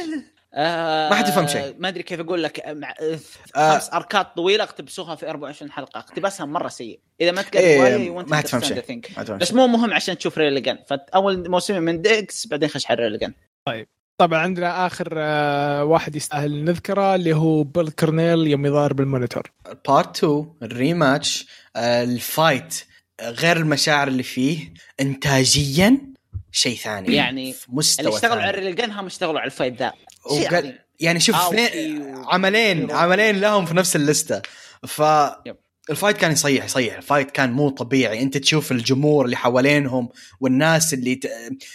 ما حد يفهم شيء. أه، ما ادري كيف اقول لك آه، مع آه، آه. خمس اركات طويله اقتبسوها في 24 حلقه اقتباسها مره سيء اذا ما تقرا إيه، رواية، you won't ما حتفهم understand شيء. the thing. ما أدري بس مو مهم عشان تشوف ريليجان فاول موسمين من ديكس بعدين خش على ريليجان طبعا عندنا اخر آه، واحد يستاهل نذكره اللي هو بيل كورنيل يوم يظهر بالمونيتور بارت 2 الريماتش آه، الفايت آه، غير المشاعر اللي فيه انتاجيا شيء ثاني يعني في إيه. مستوى اللي اشتغلوا ثاني. على ريليجان هم اشتغلوا على الفايت ذا شيء آه، وقال- عظيم. يعني شوف أو- اثنين أو- عملين أو- عملين لهم في نفس اللستة ف يب. الفايت كان يصيح يصيح الفايت كان مو طبيعي انت تشوف الجمهور اللي حوالينهم والناس اللي ت...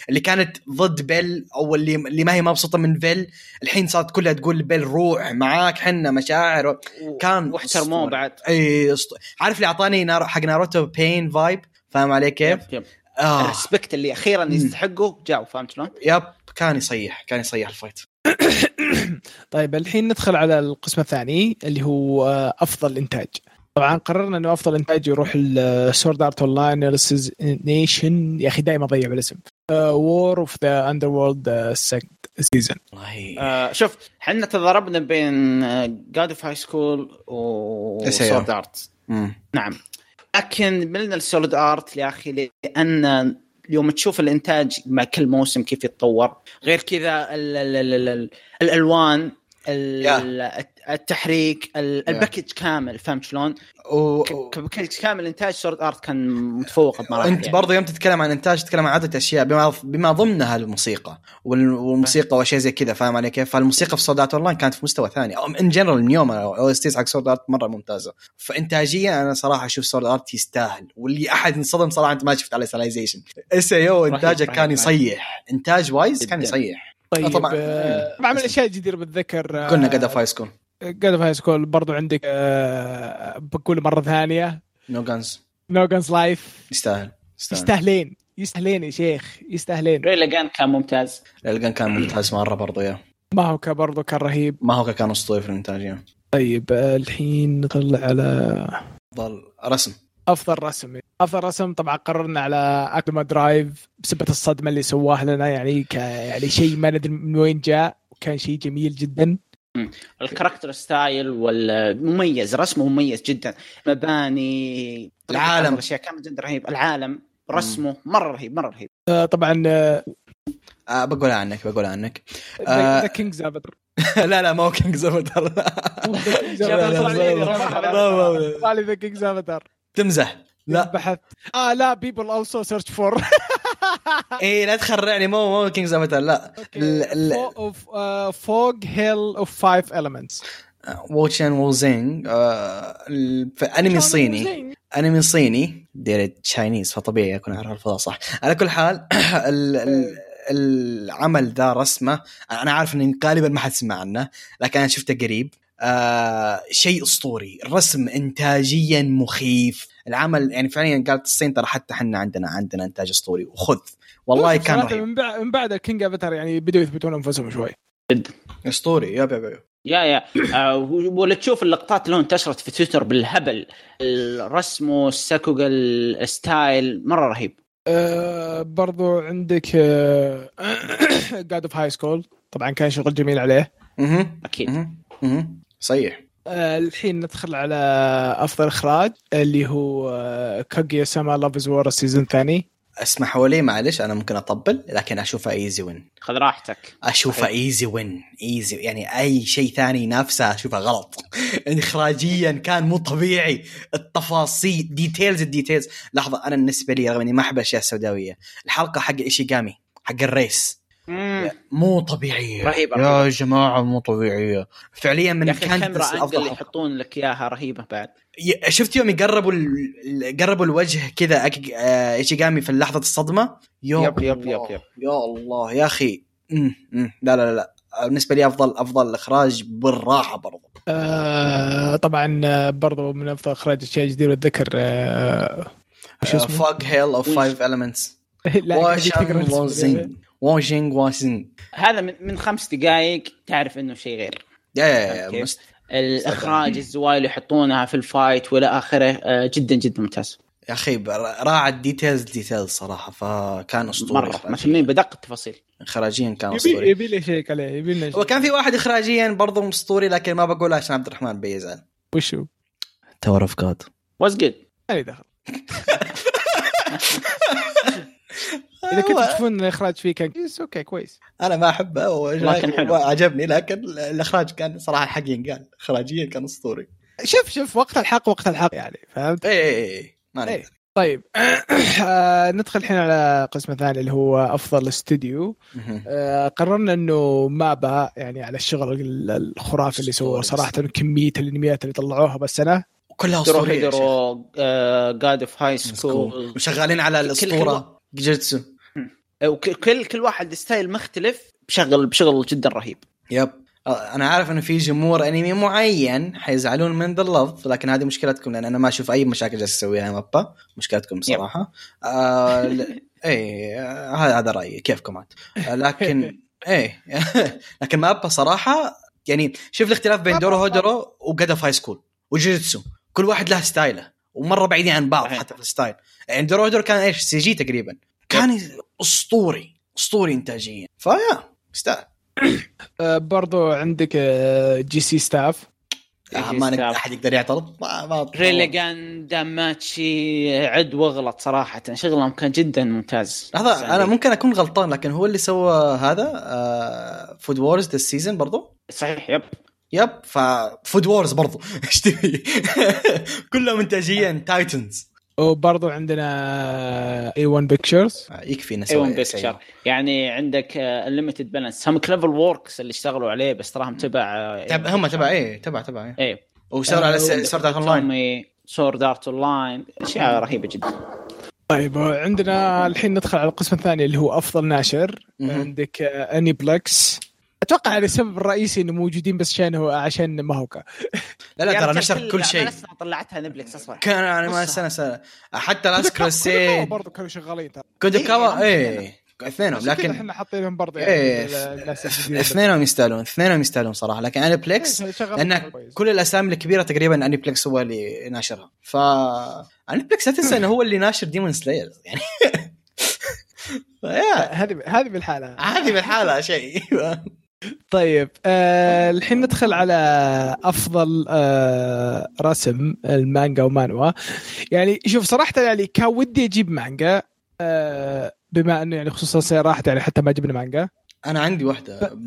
اللي كانت ضد بيل او اللي اللي ما هي مبسوطه من بيل الحين صارت كلها تقول بيل روح معاك حنا مشاعر و- كان واحترموه أسطوري. بعد اي أسط... عارف اللي اعطاني نار... حق ناروتو بين فايب فاهم علي كيف؟ يب. اه الريسبكت اللي اخيرا يستحقه جاو فهمت شلون؟ يب كان يصيح كان يصيح الفايت طيب الحين ندخل على القسم الثاني اللي هو آه، افضل انتاج طبعا قررنا انه افضل انتاج يروح آه، السورد ارت اون لاين نيشن يا اخي دائما اضيع بالاسم آه، وور اوف ذا اندر وورلد سيزون والله آه شوف احنا تضاربنا بين آه، جاد اوف هاي سكول SAO. وسورد ارت مم. نعم لكن ملنا السوليد ارت يا اخي لان يوم تشوف الانتاج مع كل موسم كيف يتطور غير كذا ال ال ال ال ال الالوان ال- التحريك ال- يا. الباكج كامل فهمت شلون؟ و... ك- ك- كامل انتاج سورد ارت كان متفوق بمراحل انت يعني. برضه يوم تتكلم عن انتاج تتكلم عن عده اشياء بما بما ضمنها الموسيقى وال- والموسيقى واشياء زي كذا فاهم علي كيف؟ فالموسيقى في سورد ارت اون لاين كانت في مستوى ثاني او ان جنرال من يوم او اس تيز حق سورد ارت مره ممتازه فانتاجيا انا صراحه اشوف سورد ارت يستاهل واللي احد انصدم صراحه انت ما شفت على سلايزيشن اس اي او رهيب، انتاجه رهيب، كان رهيب. يصيح انتاج وايز كان جداً. يصيح طيب آه، طبعاً. طبعا آه طبعا من الاشياء الجديره بالذكر آه، قلنا قد فاي سكول جاد اوف هاي سكول برضو عندك آه بقول مره ثانيه نو جانز نو جانز لايف يستاهل يستاهل يستاهلين يستاهلين يا شيخ يستاهلين ريليجان كان ممتاز الجن كان ممتاز مره برضه يا ماهوكا برضو كان رهيب ما هو كان اسطوري في الانتاج يعني. طيب آه، الحين نطلع على افضل رسم افضل رسم افضل رسم طبعا قررنا على اكما درايف بسبه الصدمه اللي سواها لنا يعني ك... يعني شيء ما ندري من وين جاء وكان شيء جميل جدا الكاركتر ستايل والمميز رسمه مميز جدا مباني طريقة العالم. بعض الاشياء كان جدا رهيب العالم رسمه مره رهيب مره رهيب آه، طبعا آه بقولها عنك بقولها عنك آه. ذا كينج زابتر لا لا ما هو كينج زبدر شباب، طلع لي رمى. طلع لي ذا كينج زابتر تمزح لا بحث اه لا بيبل اولسو سيرش فور اي إيه، لا تخرعني مو مو كينج زبدر لا ال- ال- فوق هيل اوف فايف المنتس ووتشن ووزينج آه ال- في انمي صيني انمي صيني دير تشاينيز فطبيعي اكون اعرف الفضاء صح على كل حال ال ال العمل ذا رسمه انا عارف ان غالبا ما حد سمع عنه لكن انا شفته قريب آه شيء اسطوري الرسم انتاجيا مخيف العمل يعني فعليا قالت الصين ترى حتى احنا عندنا عندنا انتاج اسطوري وخذ والله كان صراحة رهيب من بعد من بعد الكينج افاتار يعني بدوا يثبتون انفسهم شوي اسطوري يا يا يا يا يا آه، ولا تشوف اللقطات اللي انتشرت في تويتر بالهبل الرسم والساكوغا الستايل مره رهيب آه برضو عندك آه، جاد اوف هاي سكول طبعا كان شغل جميل عليه مهم. اكيد مهم. مهم. صحيح آه الحين ندخل على افضل اخراج اللي هو آه كاguya سما لاف از وور السيزون الثاني اسمع حوالي معلش انا ممكن اطبل لكن اشوفها ايزي وين خذ راحتك اشوفه صحيح. ايزي وين ايزي يعني اي شيء ثاني ينافسه اشوفه غلط اخراجيا كان مو طبيعي التفاصيل ديتيلز الديتيلز لحظه انا بالنسبه لي رغم اني ما احب الاشياء السوداويه الحلقه حق ايشيغامي حق الريس مو طبيعيه رهيبة، يا رهيبة. جماعه مو طبيعيه فعليا من يا اخي كانت الكاميرا أنجل افضل اللي يحطون لك اياها رهيبه بعد ي- شفت يوم يقربوا ال- ال- قربوا الوجه كذا أك- آه، ايشيغامي في لحظه الصدمه يا يب- يب- الله، يب- يب. يا الله يا اخي أمم، أمم. لا لا لا لا بالنسبه لي افضل افضل اخراج بالراحه برضو آه طبعا آه، برضو من افضل اخراج اشياء جديده الذكر آه وش اسمه؟ فوق هيل اوف وش؟ فايف المنتس لا، تقرأ واشنج الاسم. واشنج واشنج واشنج هذا من, من خمس دقائق تعرف انه شيء غير يا يا يا أوكي. مست- الاخراج الزوايا اللي يحطونها في الفايت والى اخره آه، جدا جدا ممتاز يا اخي بر- راعى الديتيلز ديتيلز صراحه فكان اسطوري مره مهتمين بدق التفاصيل اخراجيا كان يبي اسطوري يبي لي شيك عليه يبي لنا شيك. وكان في واحد اخراجيا برضو اسطوري لكن ما بقوله عشان عبد الرحمن بيزعل وشو؟ تاور اوف جاد واز جود مالي دخل اذا كنتوا تشوفون الاخراج فيه كان كويس اوكي كويس انا ما احبه والله كان حلو. وعجبني لكن الاخراج كان صراحه الحق ينقال اخراجيا كان اسطوري شوف شوف وقت الحق وقت الحق يعني فهمت؟ اي اي اي ما إيه. نقدر طيب آه، ندخل الحين على قسم ثاني اللي هو افضل استوديو مهم. آه، قررنا انه ما باع يعني على الشغل ال- الخرافي اللي سووه صراحه كميه الانميات اللي طلعوها بالسنه كلها درو اسطوريه يا شيخ. هيدرو جاد اوف هاي سكول وشغالين على الاسطوره جيتسو وكل كل واحد ستايل مختلف بشغل بشغل جدا رهيب يب آه، انا عارف انه في جمهور انمي معين حيزعلون من ذا لفظ لكن هذه مشكلتكم لان انا ما اشوف اي مشاكل جالس تسويها مابا مشكلتكم صراحه آه ل- اي آه، هذا هذا رايي كيفكم عاد آه، لكن ايه لكن مابا صراحه يعني شوف الاختلاف بين دورو هودورو وجاد اوف هاي سكول وجوجيتسو كل واحد له ستايله ومره بعيدين عن بعض صحيح. حتى في الستايل يعني دورو هودورو كان ايش سي جي تقريبا كان اسطوري اسطوري انتاجيا فيا يستاهل آه، برضو عندك آه، جي سي ستاف آه، ما نقدر احد يقدر يعترض ما ما ريليغان داماتشي عد واغلط صراحه شغلهم كان جدا ممتاز لحظه انا ممكن اكون غلطان لكن هو اللي سوى آه، هذا فود وورز ذا سيزون برضو صحيح يب يب ففود وورز برضو ايش تبي كلهم انتاجيا تايتنز وبرضو عندنا اي 1 بيكتشرز آه، يكفي نسوي ايون بيكتشر أيوة، يعني عندك انليمتد بالانس هم كليفر ووركس اللي اشتغلوا عليه بس تراهم تبع آه، تبع هم تبع ايه تبع تبع ايه ايه وسووا على آه، سورد اون لاين سورد ارت اون لاين اشياء رهيبه جدا طيب آه، عندنا الحين ندخل على القسم الثاني اللي هو افضل ناشر مهم. عندك آه، اني بلكس اتوقع هذا السبب الرئيسي انه موجودين بس عشان هو عشان ماهوكا لا لا يا ترى رجال نشر كل شيء الأعمال أصلاً يعني طلعتها نبلكس اصلا كان انا ما نصها. سنه سنه حتى لاست كروسيد برضه كانوا شغالين ترى كودوكاوا إيه، ايه اثنينهم لكن احنا حاطينهم برضه إيه، ال- الناس الجديدة. اثنينهم يستاهلون اثنينهم يستاهلون صراحه لكن اني بليكس إيه، شغال لان كويس. كل الاسامي الكبيره تقريبا اني بليكس هو اللي ناشرها ف اني بليكس لا تنسى انه هو اللي ناشر ديمون سلاير يعني فيا هذه هذه بالحاله عادي بالحاله شيء طيب آه الحين ندخل على افضل آه رسم المانجا ومانوا يعني شوف صراحه يعني كان ودي اجيب مانجا آه بما انه يعني خصوصا السنة راحت يعني حتى ما جبنا مانجا انا عندي واحده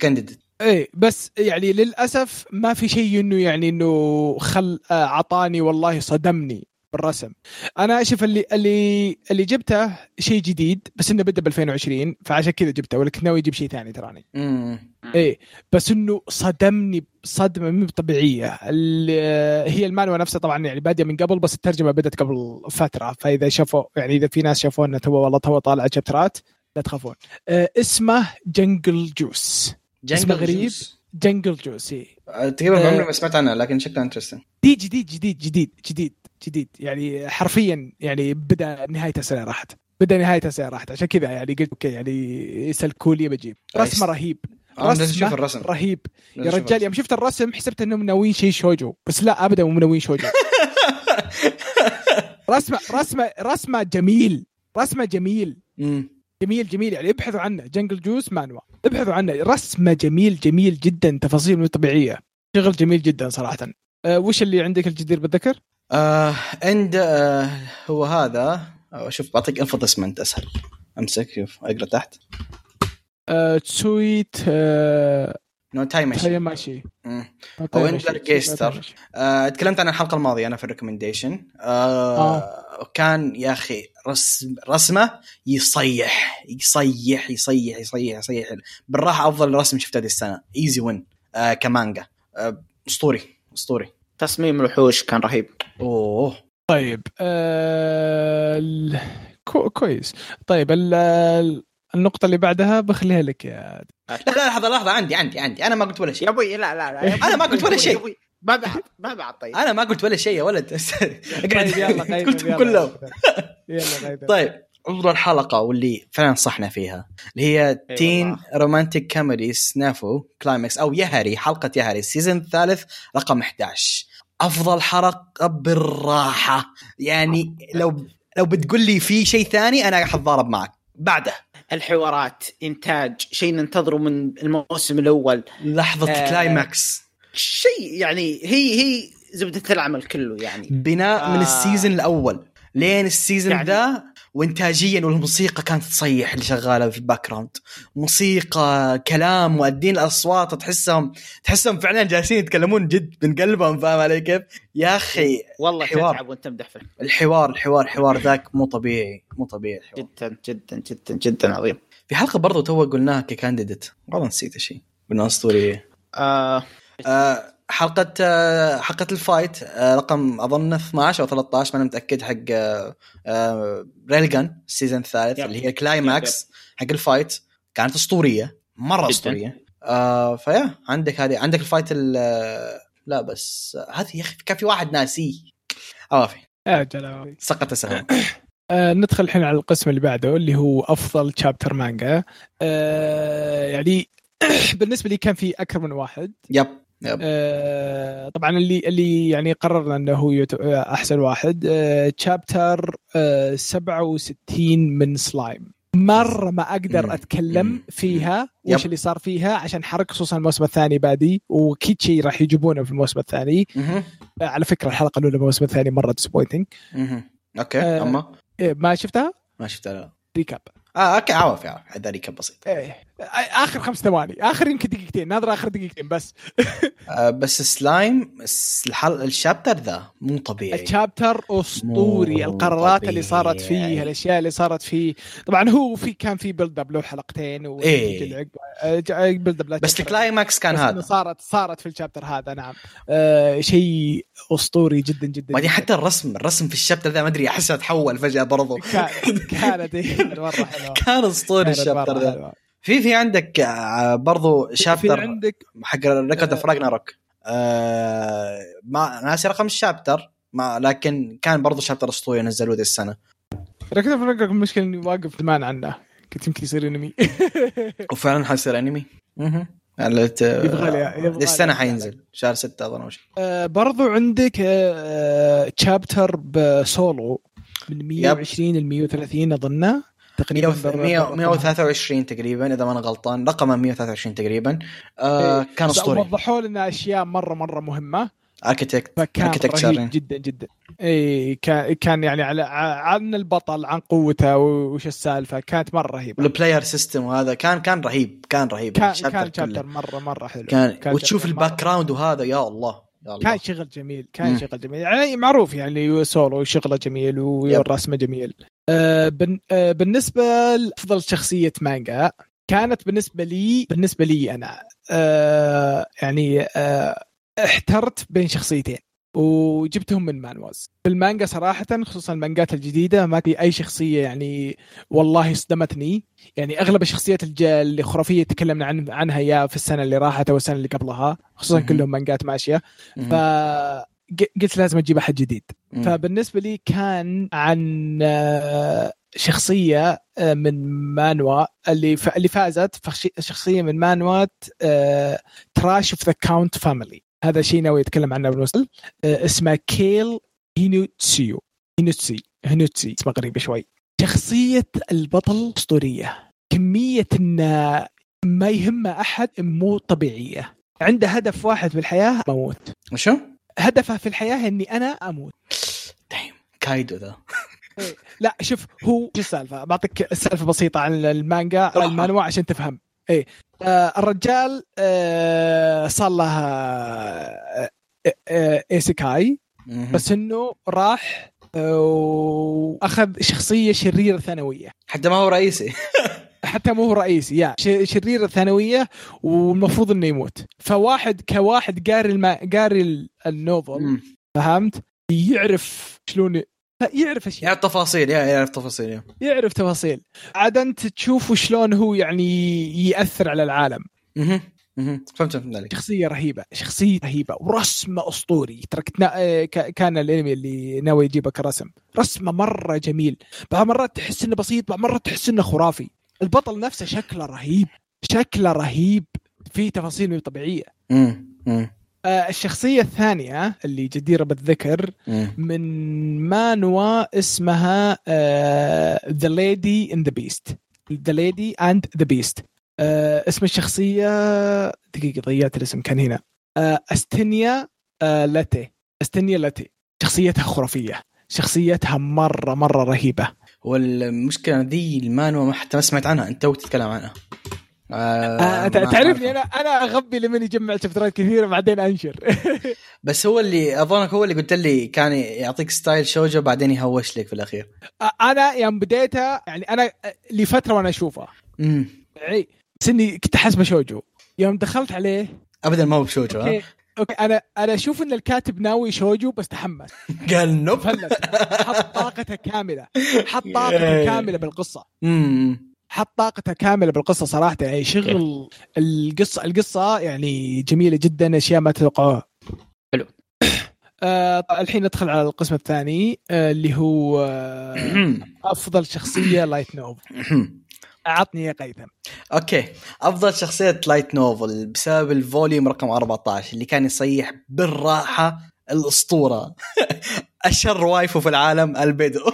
كانديديت اي بس يعني للاسف ما في شيء انه يعني انه خل آه، عطاني والله صدمني بالرسم انا اشوف اللي اللي اللي جبته شيء جديد بس انه بدا ب 2020 فعشان كذا جبته ولا كنت ناوي اجيب شيء ثاني تراني ايه بس انه صدمني صدمه مو طبيعيه ال- هي المانوا نفسها طبعا يعني باديه من قبل بس الترجمه بدات قبل فتره فاذا شافوا يعني اذا في ناس شافوا انه تو والله تو طالع شابترات لا تخافون آه اسمه جنجل جوس اسمه غريب. جنجل جوس إيه. تقريبا آه. عمري ما سمعت عنها لكن شكلها انترستنج دي جديد جديد جديد جديد جديد يعني حرفيا يعني بدا نهايه السنه راحت بدا نهايه السنه راحت عشان كذا يعني قلت اوكي يعني يسلكوا لي بجيب كويس. رسمه رهيب آه، لازم رسمة اشوف الرسم رهيب لازم يا أشوف رجال الرسم. يوم شفت الرسم حسبت انهم ناويين شيء شوجو بس لا ابدا مو ناويين شوجو رسمه رسمه رسمه جميل رسمه جميل مم. جميل جميل يعني ابحثوا عنه جنجل جوس مانوا ابحثوا عنه رسمه جميل جميل جدا تفاصيل مو طبيعيه شغل جميل جدا صراحه أه وش اللي عندك الجدير بالذكر؟ آه عند آه هو هذا آه، شوف بعطيك انفضسمنت اسهل امسك شوف اقرا تحت أه تسويت أه نو تايم تايماشي طيب، أو إندر جيستر. آه، تكلمت عن الحلقه الماضيه انا في الريكومنديشن آه كان يا اخي رسم رسمه يصيح يصيح يصيح يصيح يصيح بالراحه افضل رسم شفته هذه السنه ايزي وين آه كمانجا آه اسطوري اسطوري تصميم الوحوش كان رهيب اوه طيب آه... ال- كو... كويس طيب ال... ال- النقطة اللي بعدها بخليها لك يا لا لا لحظه لحظه عندي عندي عندي انا ما قلت ولا شيء يا ابوي لا لا لا يا أبوي، أنا ما قلت ولا يا شيء. أبوي، ما بعد ما بعد طيب انا ما قلت ولا شيء يا ولد طيب يلا اقعد غيث، قلت يلا. كله يلا غيث. طيب افضل حلقه واللي فعلا صحنا فيها اللي هي إي تين والله. رومانتيك كوميدي سنافو كلايمكس او يهري حلقه يهري السيزون الثالث رقم 11 افضل حلقه بالراحه يعني لو لو بتقول لي في شيء ثاني انا حتضارب معك بعده الحوارات انتاج شيء ننتظره من الموسم الاول لحظه آه. كلايمكس شيء يعني هي هي زبده العمل كله يعني بناء من آه. السيزون الاول لين السيزون يعني- يعني... ذا وانتاجيا والموسيقى كانت تصيح اللي شغاله في الباك جراوند موسيقى كلام مؤدين الاصوات تحسهم تحسهم فعلا جالسين يتكلمون جد من قلبهم فاهم علي كيف؟ يا اخي والله حوار. تتعب وانت مدح فيه الحوار الحوار الحوار ذاك مو طبيعي مو طبيعي الحوار. جدا جدا جدا جدا عظيم في حلقه برضو تو قلناها ككانديديت والله نسيت شيء من اسطوريه آه آه، حلقة آه، حلقة الفايت آه، رقم اظن 12 او 13 ماني متاكد حق آه، ريل جن السيزون الثالث يب. اللي هي كلايماكس حق الفايت كانت اسطورية مرة جداً. اسطورية آه، فيا عندك هذه عندك الفايت ال- لا بس آه، هذه يا اخي كان في واحد ناسي آه، اوافي يا جلال. سقط السهم آه ندخل الحين على القسم اللي بعده اللي هو افضل شابتر مانجا آه يعني بالنسبة لي كان في اكثر من واحد يب يب آه، طبعا اللي اللي يعني قررنا انه هو يت- آه، احسن واحد آه، تشابتر 67 من سلايم مره ما مم. اقدر مم. اتكلم فيها يب. وش اللي صار فيها عشان حرق خصوصا الموسم الثاني بادي واكيد شيء راح يجيبونه في الموسم الثاني مهم. آه، على فكره الحلقه الاولى من الموسم الثاني مره ديسبوينتنج مهم. اوكي آه. اما ما شفتها ما شفتها لا ريكاب اه اوكي عوافي عوافي هذا ريكاب بسيط ايه آه، اخر خمس ثواني اخر يمكن دقيقتين ناظر اخر دقيقتين بس آه، بس سلايم الس- الحل... الشابتر ذا مو طبيعي الشابتر اسطوري مو القرارات طبيعي. اللي صارت فيه الاشياء اللي صارت فيه طبعا هو في كان في بيلد اب له حلقتين و آه، إيه. بيلد اب بس الكلايماكس كان هذا صارت صارت في الشابتر هذا نعم آه شيء اسطوري جدا جدا بعدين حتى الرسم الرسم في الشابتر ذا ما ادري احسها تحول فجاه برضو كان- كانت إيه، مره حلوه كان اسطوري كانت الشابتر مرة ذا حلوة. في في عندك آه، برضو في شابتر عندك حق ريكورد آه. اوف راجناروك آه ما ناسي رقم الشابتر ما لكن كان برضو شابتر اسطوري نزلوه ذي السنه ركض في المشكله اني واقف زمان عنه قلت يمكن يصير انمي وفعلا حيصير انمي اها على ت- يبغى لي- يبغى لي. السنه آه، حينزل شهر 6 اظن او شيء آه، برضو عندك آه، تشابتر بسولو من 120 ل 130 اظنه تقريبا بر- بر- 123 تقريبا اذا ما انا غلطان رقمها 123 تقريبا آه إيه. كان اسطوري وضحوا لنا اشياء مره مره مهمه اركتكت فكان رهيب اركتكتشر جدا جدا اي كان كان يعني على عن البطل عن قوته وش السالفه كانت مره رهيبه والبلاير سيستم وهذا كان كان رهيب كان رهيب كان الشابتر كان كله. شابتر مره مره حلو كان وتشوف chapter مرة- الباك جراوند وهذا يا الله يا الله كان شغل جميل كان مم. شغل جميل يعني معروف يعني سولو شغله جميل والرسمه جميل آه بن آه بالنسبه لافضل شخصيه مانجا كانت بالنسبه لي بالنسبه لي انا آه يعني آه احترت بين شخصيتين وجبتهم من مانواز بالمانجا صراحة خصوصا المانجات الجديدة ما في أي شخصية يعني والله صدمتني يعني أغلب الشخصيات الج- الخرافية تكلمنا عن عنها يا في السنة اللي راحت أو السنة اللي قبلها خصوصا مهم. كلهم مانجات ماشية مهم. فقلت لازم اجيب احد جديد مهم. فبالنسبه لي كان عن آه، شخصيه آه، من مانوا اللي ف- اللي فازت فخش- شخصيه من مانوا آه، تراش اوف ذا كاونت فاميلي هذا شيء ناوي اتكلم عنه بنوصل آه، اسمه كيل هينوتسيو هينوتسي هينوتسي اسمه غريب شوي شخصيه البطل اسطوريه كميه انه ما يهمه احد مو طبيعيه عنده هدف واحد في الحياه موت وشو؟ هدفه في الحياه اني انا اموت دايم كايدو ذا لا شوف هو شو السالفه بعطيك السالفه بسيطه عن المانجا راحة. المانوا عشان تفهم ايه آه الرجال آه صار له آه آه ايسيكاي مهم. بس انه راح آه، واخذ شخصيه شريره ثانويه حتى ما هو رئيسي حتى مو هو رئيسي يا ش- شريره ثانويه والمفروض انه يموت فواحد كواحد قاري الما... قاري ال- النوفل مم. فهمت يعرف شلون يعرف اشياء يعرف تفاصيل يا- يعرف تفاصيل يا. يعرف تفاصيل عاد انت تشوف شلون هو يعني ياثر على العالم مهم. مهم. فهمت فهمت عليك شخصيه رهيبه شخصيه رهيبه ورسمه اسطوري تركتنا آه، ك- كان الانمي اللي ناوي يجيبه كرسم رسمه مره جميل بعض مرات تحس انه بسيط بعض مرات تحس انه خرافي البطل نفسه شكله رهيب شكله رهيب فيه تفاصيل مو طبيعيه مم. مم. آه، الشخصيه الثانيه اللي جديره بالذكر مم. من مانوا اسمها آه، ذا ليدي اند ذا بيست ذا ليدي اند ذا بيست آه، اسم الشخصيه دقيقه ضيعت الاسم كان هنا آه، استنيا آه، لاتي استنيا لاتي شخصيتها خرافيه شخصيتها مره مره رهيبه والمشكله ذي المانوا ما حتى ما سمعت عنها انت توك تتكلم عنها آه، آه، أنت ما تعرفني أعرفها. انا انا اغبي لمن يجمع شفترات كثيره بعدين انشر بس هو اللي اظنك هو اللي قلت لي كان يعطيك ستايل شوجو بعدين يهوش لك في الاخير انا آه، يوم بديتها يعني انا لفتره وانا اشوفها امم يعني بس اني كنت احسبه شوجو يوم دخلت عليه ابدا ما هو بشوجو ها اوكي اوكي انا انا اشوف ان الكاتب ناوي شوجو بس تحمس قال نوب فلت حط طاقته كامله حط طاقته ياي. كامله بالقصه امم حط طاقته كامله بالقصه صراحه يعني شغل القصه القصه يعني جميله جدا اشياء ما تتوقعوها حلو. آه طيب، الحين ندخل على القسم الثاني آه اللي هو آه افضل شخصيه لايت نوب عطني يا قيثم اوكي افضل شخصيه لايت نوفل بسبب الفوليوم رقم 14 اللي كان يصيح بالراحه الاسطوره اشر وايفو في العالم البيدو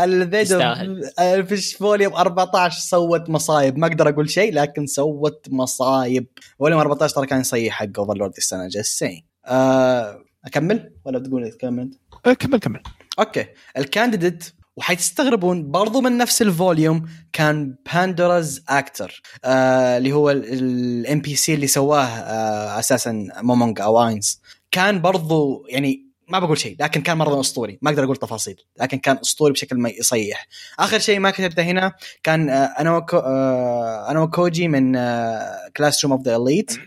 البيدو يستاهل. آه، في فوليوم 14 سوت مصايب ما اقدر اقول شيء لكن سوت مصايب فوليوم 14 ترى كان يصيح حق اوفرلورد السنه جالسين أه اكمل ولا بتقول تكمل انت؟ آه كمل كمل اوكي الكانديديت وحتستغربون برضو من نفس الفوليوم كان باندوراز اكتر آه اللي هو الام بي سي اللي سواه آه اساسا مومونج او اينز كان برضو يعني ما بقول شيء لكن كان مره اسطوري ما اقدر اقول تفاصيل لكن كان اسطوري بشكل ما يصيح اخر شيء ما كتبته هنا كان آه انا وكو آه انا وكوجي من آه، كلاس روم اوف ذا اليت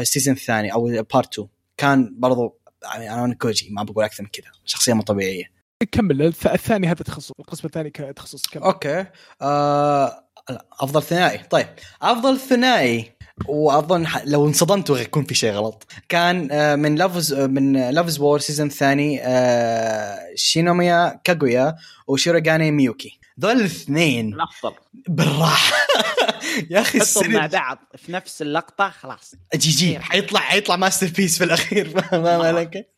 السيزون الثاني او بارت 2 كان برضو يعني انا كوجي ما بقول اكثر من كذا شخصيه مو طبيعيه كمل الث- الثاني هذا تخصص القسم الثاني ك- تخصص كمل اوكي آه افضل ثنائي طيب افضل ثنائي واظن ح- لو انصدمتوا يكون في شيء غلط كان آه، من لافز من لافز وور سيزون الثاني آه، شينوميا كاغويا وشيروغاني ميوكي ذول الاثنين الافضل بالراحه يا اخي حطهم مع السرير بعض في نفس اللقطه خلاص جي جي حيطلع حيطلع ماستر بيس في الاخير ما ما لك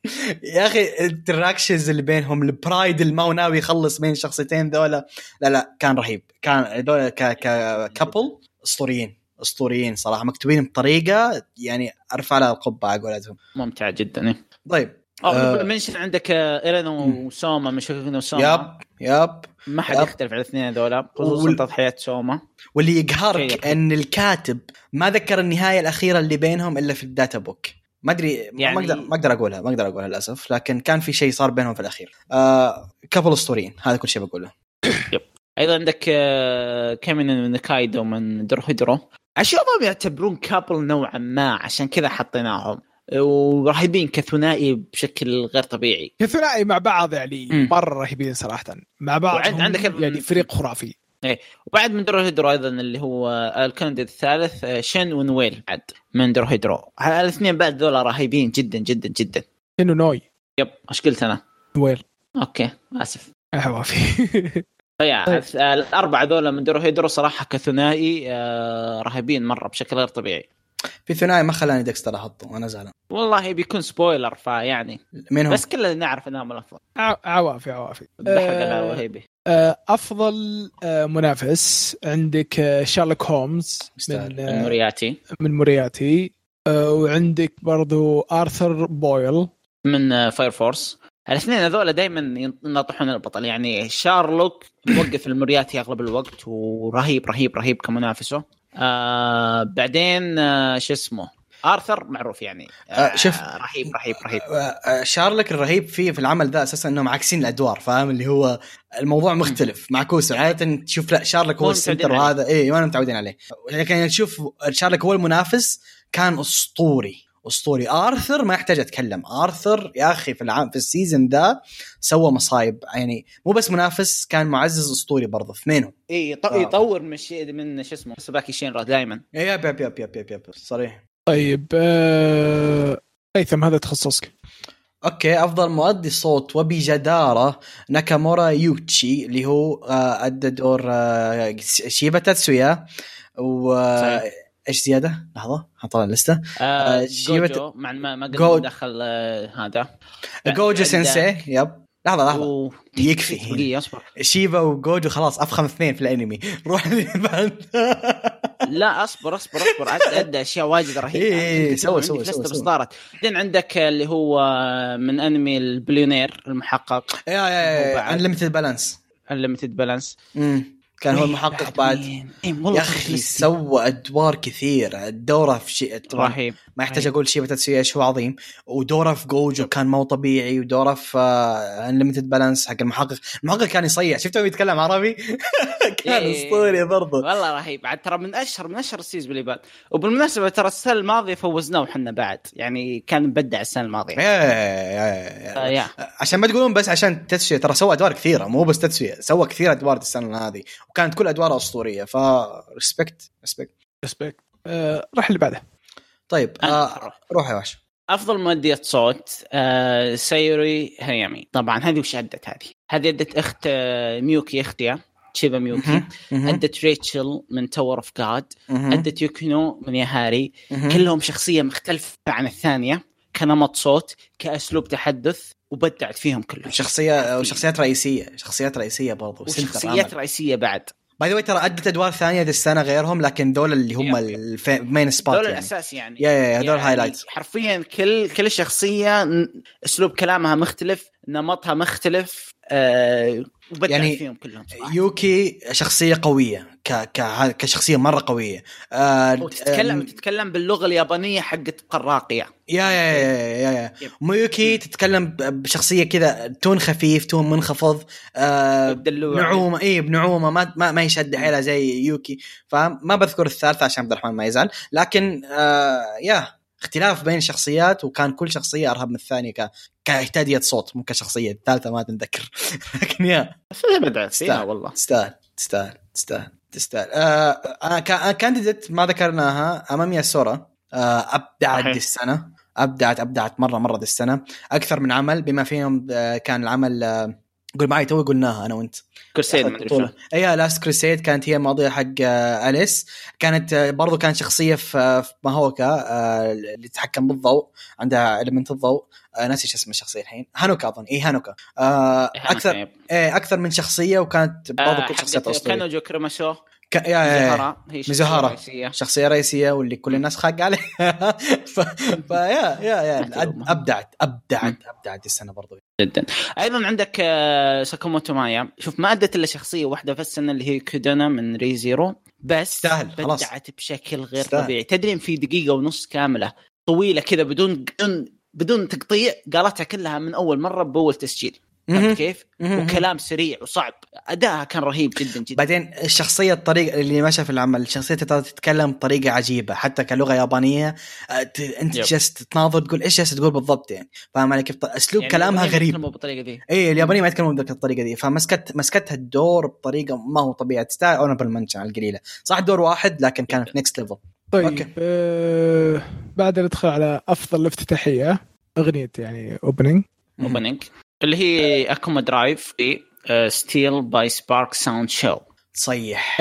يا اخي الانتراكشنز اللي بينهم البرايد اللي ما هو ناوي يخلص بين الشخصيتين ذولا لا لا كان رهيب كان ذولا ك ك كابل اسطوريين اسطوريين صراحه مكتوبين بطريقه يعني ارفع لها القبعه على قولتهم ممتع إيه. جدا طيب آه. اه منشن عندك آه، ايرين مم. وسوما مشكوكين وسوما ياب ياب ما حد يب. يختلف على الاثنين هذول خصوصا وال- تضحيه سوما واللي شيق. يقهرك ان الكاتب ما ذكر النهايه الاخيره اللي بينهم الا في الداتا بوك ما ادري يعني- ما اقدر ما اقدر اقولها ما اقدر اقولها للاسف لكن كان في شيء صار بينهم في الاخير آه كابل اسطوريين هذا كل شيء بقوله ايضا عندك آه، كامين من كايدو من درهدرو اشوفهم يعتبرون كابل نوعا ما عشان كذا حطيناهم ورهيبين كثنائي بشكل غير طبيعي كثنائي مع بعض يعني مم. مره رهيبين صراحه مع بعض وعند- هم عندك ال- يعني فريق خرافي وبعد من درهدرو ايضا اللي هو الكندي الثالث آه، شين ونويل بعد من درهدرو الاثنين بعد ذولا رهيبين جدا جدا جدا انه نوي يب ايش قلت انا؟ نويل اوكي اسف حوافي فيا آه، الاربعه ذولا من درو هيدرو صراحه كثنائي آه، رهيبين مره بشكل غير طبيعي في ثنائي ما خلاني ديكستر احطه وانا زعلان والله بيكون سبويلر فيعني مين هو؟ بس كلنا نعرف انهم الافضل آه، ع- عوافي عوافي ضحك آه، على وهيبي آه، افضل آه، منافس عندك آه، شارلوك هومز من يستاهل. آه، مورياتي من مورياتي آه، وعندك برضو ارثر بويل من فاير فورس الاثنين هذول دائما ينطحون البطل يعني شارلوك يوقف المورياتي اغلب الوقت ورهيب رهيب رهيب كمنافسه آه بعدين آه شو اسمه ارثر معروف يعني آه، شوف. رهيب رهيب رهيب آه، آه، شارلك الرهيب فيه في العمل ذا اساسا انهم عاكسين الادوار فاهم اللي هو الموضوع مختلف معكوس عاده تشوف لا شارلك مو هو متعودين السنتر عليه. وهذا اي ما متعودين عليه لكن تشوف شارلك هو المنافس كان اسطوري اسطوري ارثر ما يحتاج اتكلم ارثر يا اخي في العام في السيزون ذا سوى مصايب يعني مو بس منافس كان معزز اسطوري برضه اثنينهم اي يط- آه. يطور من شيء من شو اسمه سباكي شينرا دائما ياب ياب ياب ياب ياب ياب صريح طيب آه، هيثم هذا تخصصك اوكي افضل مؤدي صوت وبجداره ناكامورا يوتشي اللي هو آه، ادى دور آه، شيبا تاتسويا و صحيح. ايش زياده؟ لحظه حطها اللسته آه، آه جيبت- جوجو مع ما ما جو- قد دخل آه هذا جوجو عندك- سensei يب لحظه لحظه و... آه، يكفي. دقيقة اصبر شيبا وجوجو خلاص افخم اثنين في الانمي روح اللي بعد. لا اصبر اصبر اصبر عد عد اشياء واجد رهيبه إيه، إيه، عندك سوى- عندك سوى- لستة سوى- بس سوى. صدارت بعدين عندك اللي هو من انمي البليونير المحقق يا يا وبعد. انليمتد بالانس انليمتد بالانس إيه، كان هو المحقق بعد يا اخي سوى ادوار كثير الدوره في شيء رهيب ما يحتاج أي. اقول شيء تتسوي ايش هو عظيم ودوره في جوجو كان مو طبيعي ودوره في انليمتد بالانس حق المحقق المحقق كان يصيح شفته هو يتكلم عربي كان إيه. اسطوري برضه والله رهيب عاد ترى من اشهر من اشهر السيزون اللي بعد وبالمناسبه ترى السنه الماضيه فوزناه حنا بعد يعني كان مبدع السنه الماضيه إيه، إيه، آه، إيه. يا عشان ما تقولون بس عشان تتسوية ترى سوى ادوار كثيره مو بس تتسوية سوى كثير ادوار السنه هذه وكانت كل ادواره اسطوريه ف ريسبكت ريسبكت ريسبكت آه، راح اللي بعده طيب أنا آه روح يا وحش افضل مؤدية صوت آه سيوري هيامي طبعا هذه وش ادت هذه؟ هذه ادت اخت آه، ميوكي اختها تشيبا ميوكي مهم، مهم، ادت ريتشل من تاور اوف جاد مهم، ادت يوكينو من ياهاري مهم. كلهم شخصيه مختلفه عن الثانيه كنمط صوت كاسلوب تحدث وبدعت فيهم كلهم شخصيه وشخصيات رئيسيه شخصيات رئيسيه برضه وشخصيات رئيسيه بعد باي ذا ترى ادت ادوار ثانيه ذي السنه غيرهم لكن دول اللي هم يب. المين سبوت هذول يعني الاساس يعني يا يا يا هذول يعني هايلايتس حرفيا كل كل شخصيه ن- اسلوب كلامها مختلف نمطها مختلف آه وبدعت يعني يعني فيهم كلهم صراحة. يوكي شخصيه قويه ك... ك... كشخصيه مره قويه آه... وتتكلم آم، تتكلم باللغه اليابانيه حقت قراقيه يا يا يا يا, يا. يب. ميوكي تتكلم ب- بشخصيه كذا تون خفيف تون منخفض آه... بدلوع نعومه اي بنعومه ما ما, ما يشد حيله زي يوكي فاهم ما بذكر الثالثه عشان عبد الرحمن ما يزعل لكن آه... يا اختلاف بين الشخصيات وكان كل شخصيه ارهب من الثانيه ك... كاعتاديه صوت مو كشخصيه الثالثه ما تنذكر لكن يا فيها بدعت فيها استاهل. والله تستاهل تستاهل تستاهل تستاهل آه آه كانديديت ما ذكرناها امامي سورا آه ابدعت صحيح. دي السنه ابدعت ابدعت مره مره دي السنه اكثر من عمل بما فيهم آه كان العمل آه قول معي تو قلناها انا وانت كرسيد ما ادري شنو اي لاست كريسيد كانت هي الماضيه حق آه، اليس كانت آه، برضو كانت شخصيه في آه، في ماهوكا آه، اللي تتحكم بالضوء عندها المنت الضوء آه، ناسي شو اسم الشخصيه الحين هانوكا اظن اي هانوكا آه، اكثر إيه اكثر من شخصيه وكانت آه، برضو كل شخصيات اسطوريه كانوجو كريماشو ك... يا- يا- يا- مزهرة هي إيه. شخصية مزهرة. رئيسية. شخصيه رئيسيه واللي كل الناس خاق عليها ف... فيا يا يا مهتم. ابدعت ابدعت ابدعت السنه برضو جدا ايضا عندك آه، ساكوموتو مايا شوف ما ادت الا شخصيه واحده في السنه اللي هي كودانا من ري زيرو بس تستاهل، خلاص. بدعت بشكل غير تستاهل. طبيعي تدري إن في دقيقه ونص كامله طويله كذا بدون بدون بدون تقطيع قالتها كلها من اول مره باول تسجيل فهمت كيف؟ مهم. وكلام سريع وصعب ادائها كان رهيب جدا جدا بعدين الشخصية الطريقة اللي ما شاف العمل الشخصية ترى تتكلم بطريقة عجيبة حتى كلغة يابانية آه، ت- انت يب. جالس تناظر تقول ايش جالس تقول بالضبط يعني فاهم علي كيف اسلوب يعني كلامها اليابانيين ما غريب يتكلموا بالطريقه ذي اي اليابانية ما يتكلمون بذيك الطريقة دي فمسكت مسكتها الدور بطريقة ما هو طبيعي تستاهل اونبل منشن على القليلة صح دور واحد لكن كان في نكست ليفل أوكي. طيب آه بعد ندخل على افضل افتتاحيه اغنيه يعني اوبننج اوبننج اللي هي اكوما درايف إيه، آه، في ستيل باي سبارك ساوند شو صيح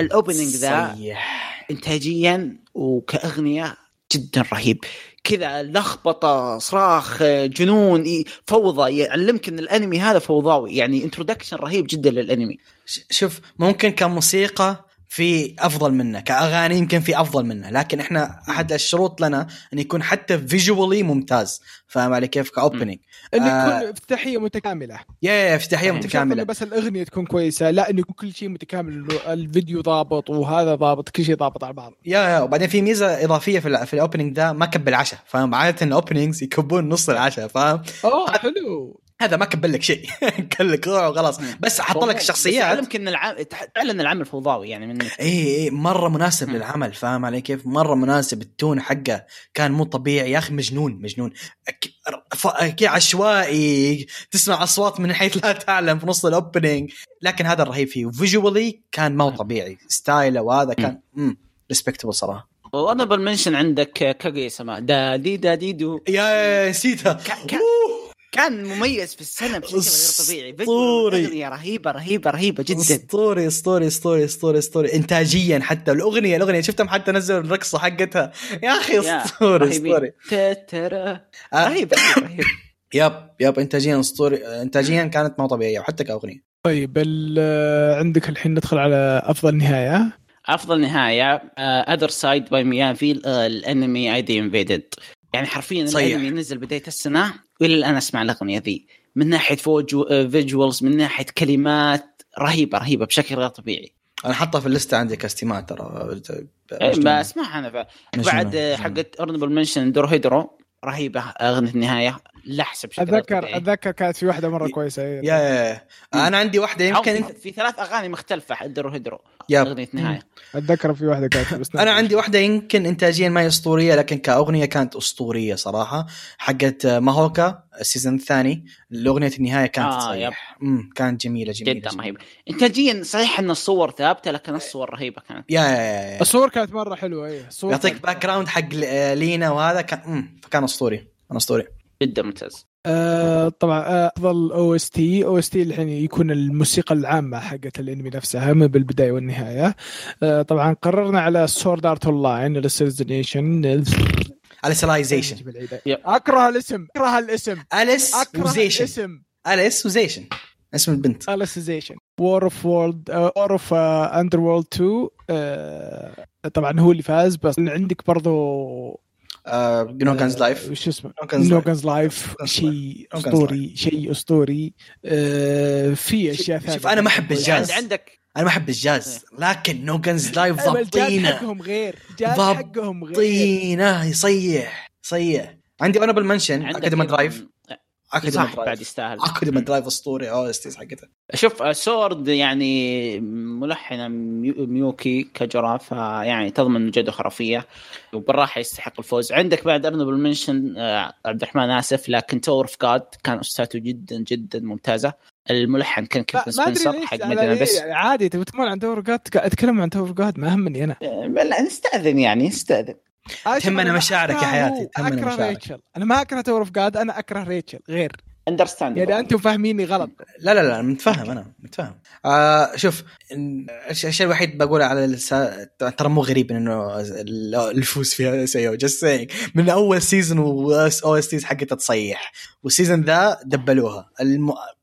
الاوبننج ذا صيح انتاجيا وكاغنيه جدا رهيب كذا لخبطه صراخ جنون إي- فوضى يعلمك ان الانمي هذا فوضاوي يعني انترودكشن رهيب جدا للانمي ش- شوف ممكن كموسيقى في افضل منه كاغاني يمكن في افضل منه لكن احنا احد الشروط لنا ان يكون حتى فيجولي ممتاز فاهم علي كيف كاوبننج اللي آه. تكون افتتاحيه متكامله يا يا افتتاحيه صحيح. مش شرط إنه متكامله بس الاغنيه تكون كويسه لا انه يكون كل شيء متكامل إنه الفيديو ضابط وهذا ضابط كل شيء ضابط على بعض يا يا وبعدين في ميزه اضافيه في, ال- في الاوبننج ده ما كب العشاء فاهم عاده الاوبننجز يكبون نص العشاء فاهم اوه آه، حلو هذا ما كب لك شيء كل لك روح وخلاص بس حط لك بس الشخصيات يعلمك ان العام تعلن العمل فوضاوي يعني من اي اي مره إيه، مناسب مم. للعمل فاهم علي كيف؟ مره مناسب التون حقه كان مو طبيعي يا اخي مجنون مجنون أك- ف- أك- عشوائي تسمع اصوات من حيث لا تعلم في نص الاوبننج لكن هذا الرهيب فيه فيجولي كان ما هو طبيعي ستايله وهذا كان امم ريسبكتبل صراحه وانا بالمنشن عندك كاغي سما دادي دادي دو يا- يا نسيتها ك- ك- كان مميز في السنه بشكل غير طبيعي فيجوال أسطوري. والأغنية رهيبه رهيبه رهيبه جدا اسطوري اسطوري اسطوري اسطوري اسطوري انتاجيا حتى الاغنيه الاغنيه شفتهم حتى نزلوا الرقصه حقتها يا اخي يا، اسطوري رهيبين. اسطوري تترا. آه، رهيب رهيب رهيب يب يب انتاجيا اسطوري انتاجيا كانت مو طبيعيه وحتى كاغنيه طيب ال- عندك الحين ندخل على افضل نهايه افضل نهايه اذر سايد باي ميافي الانمي اي دي انفيدد يعني حرفيا صيح. الانمي نزل بدايه السنه والى الان اسمع الاغنيه ذي من ناحيه فيجوالز من ناحيه كلمات رهيبه رهيبه بشكل غير طبيعي انا حاطها في اللسته عندي كاستماع ترى أه، ما اسمعها انا ف- مجنونة، إيه، بعد آه، مجنونة. حقت اورنبل منشن دور هيدرو رهيبه اغنيه النهايه لحسه بشكل غير اتذكر طبيعي. اتذكر كانت في واحده مره إيه. ي- كويسه إيه. يا يا انا عندي واحده أو يمكن في- في ثلاث اغاني مختلفه حق دور هيدرو يب. اغنيه نهايه اتذكر في واحده كانت بس انا عندي واحده يمكن انتاجيا ما هي اسطوريه لكن كاغنيه كانت اسطوريه صراحه حقت آه، ماهوكا السيزون الثاني الاغنيه النهايه كانت آه، آه صحيح امم كانت جميله جميله جدا رهيبه انتاجيا صحيح ان الصور ثابته لكن الصور رهيبه كانت يا يا يا, يا. الصور كانت مره حلوه اي الصور يعطيك كانت- باك جراوند حق آه، لينا وهذا كان امم فكان اسطوري كان اسطوري جدا ممتاز آه طبعا آه، افضل او اس تي او اس تي الحين يكون الموسيقى العامه حقت الانمي نفسها من بالبدايه والنهايه آه طبعا قررنا على سورد ارت اون لاين ريسيزنيشن على سلايزيشن يب. اكره الاسم اكره الاسم اليس اكره وزيشن الاسم اليس وزيشن اسم البنت اليسيزيشن وور اوف وورلد وور اوف اندر وورلد 2 آه، طبعا هو اللي فاز بس عندك برضو آه، جنوكانز لايف وش اسمه Nogan's نوغنز لايف Nogan's شيء Nogan's اسطوري شيء اسطوري آه، في اشياء ثانيه شوف انا ما احب الجاز عند- عندك انا ما احب الجاز لكن نوغنز لايف أيوة، الجاز ضابطينه حقهم غير جاز ضابطينه. حقهم غير ضابطينه يصيح يصيح عندي اونبل منشن عندك اكاديمي أيضاً- درايف اكاديمي صح بعد درايف يستاهل اكاديمي درايف اسطوري او اس تيز آه، حقتها شوف آه، سورد يعني ملحنه ميو- ميوكي كجرا فيعني تضمن جوده خرافيه وبالراحه يستحق الفوز عندك بعد ارنبل منشن آه، عبد الرحمن اسف لكن تور اوف جاد كان استاذته جدا جدا ممتازه الملحن كان ما كيفن ما ادري سبنسر ليش حق على مدينه إيه، بس يعني عادي تبي تتكلم عن دور جاد اتكلم عن دور جاد ما همني انا آه، لا نستاذن يعني نستاذن أنا تهمنا ما مشاعرك يا أكرهه، حياتي، تهمنا اكره مشاعرك. ريتشل انا ما اكره دور اوف جاد انا اكره ريتشل غير اندرستاند يعني انتم فاهميني غلط لا لا لا متفهم انا متفهم آه شوف إن- الش- الشيء الوحيد بقوله على السا... ترى مو غريب انه ال- الفوز فيها سيو جست سينج من اول سيزون او اس تيز حقتها تصيح والسيزون ذا دبلوها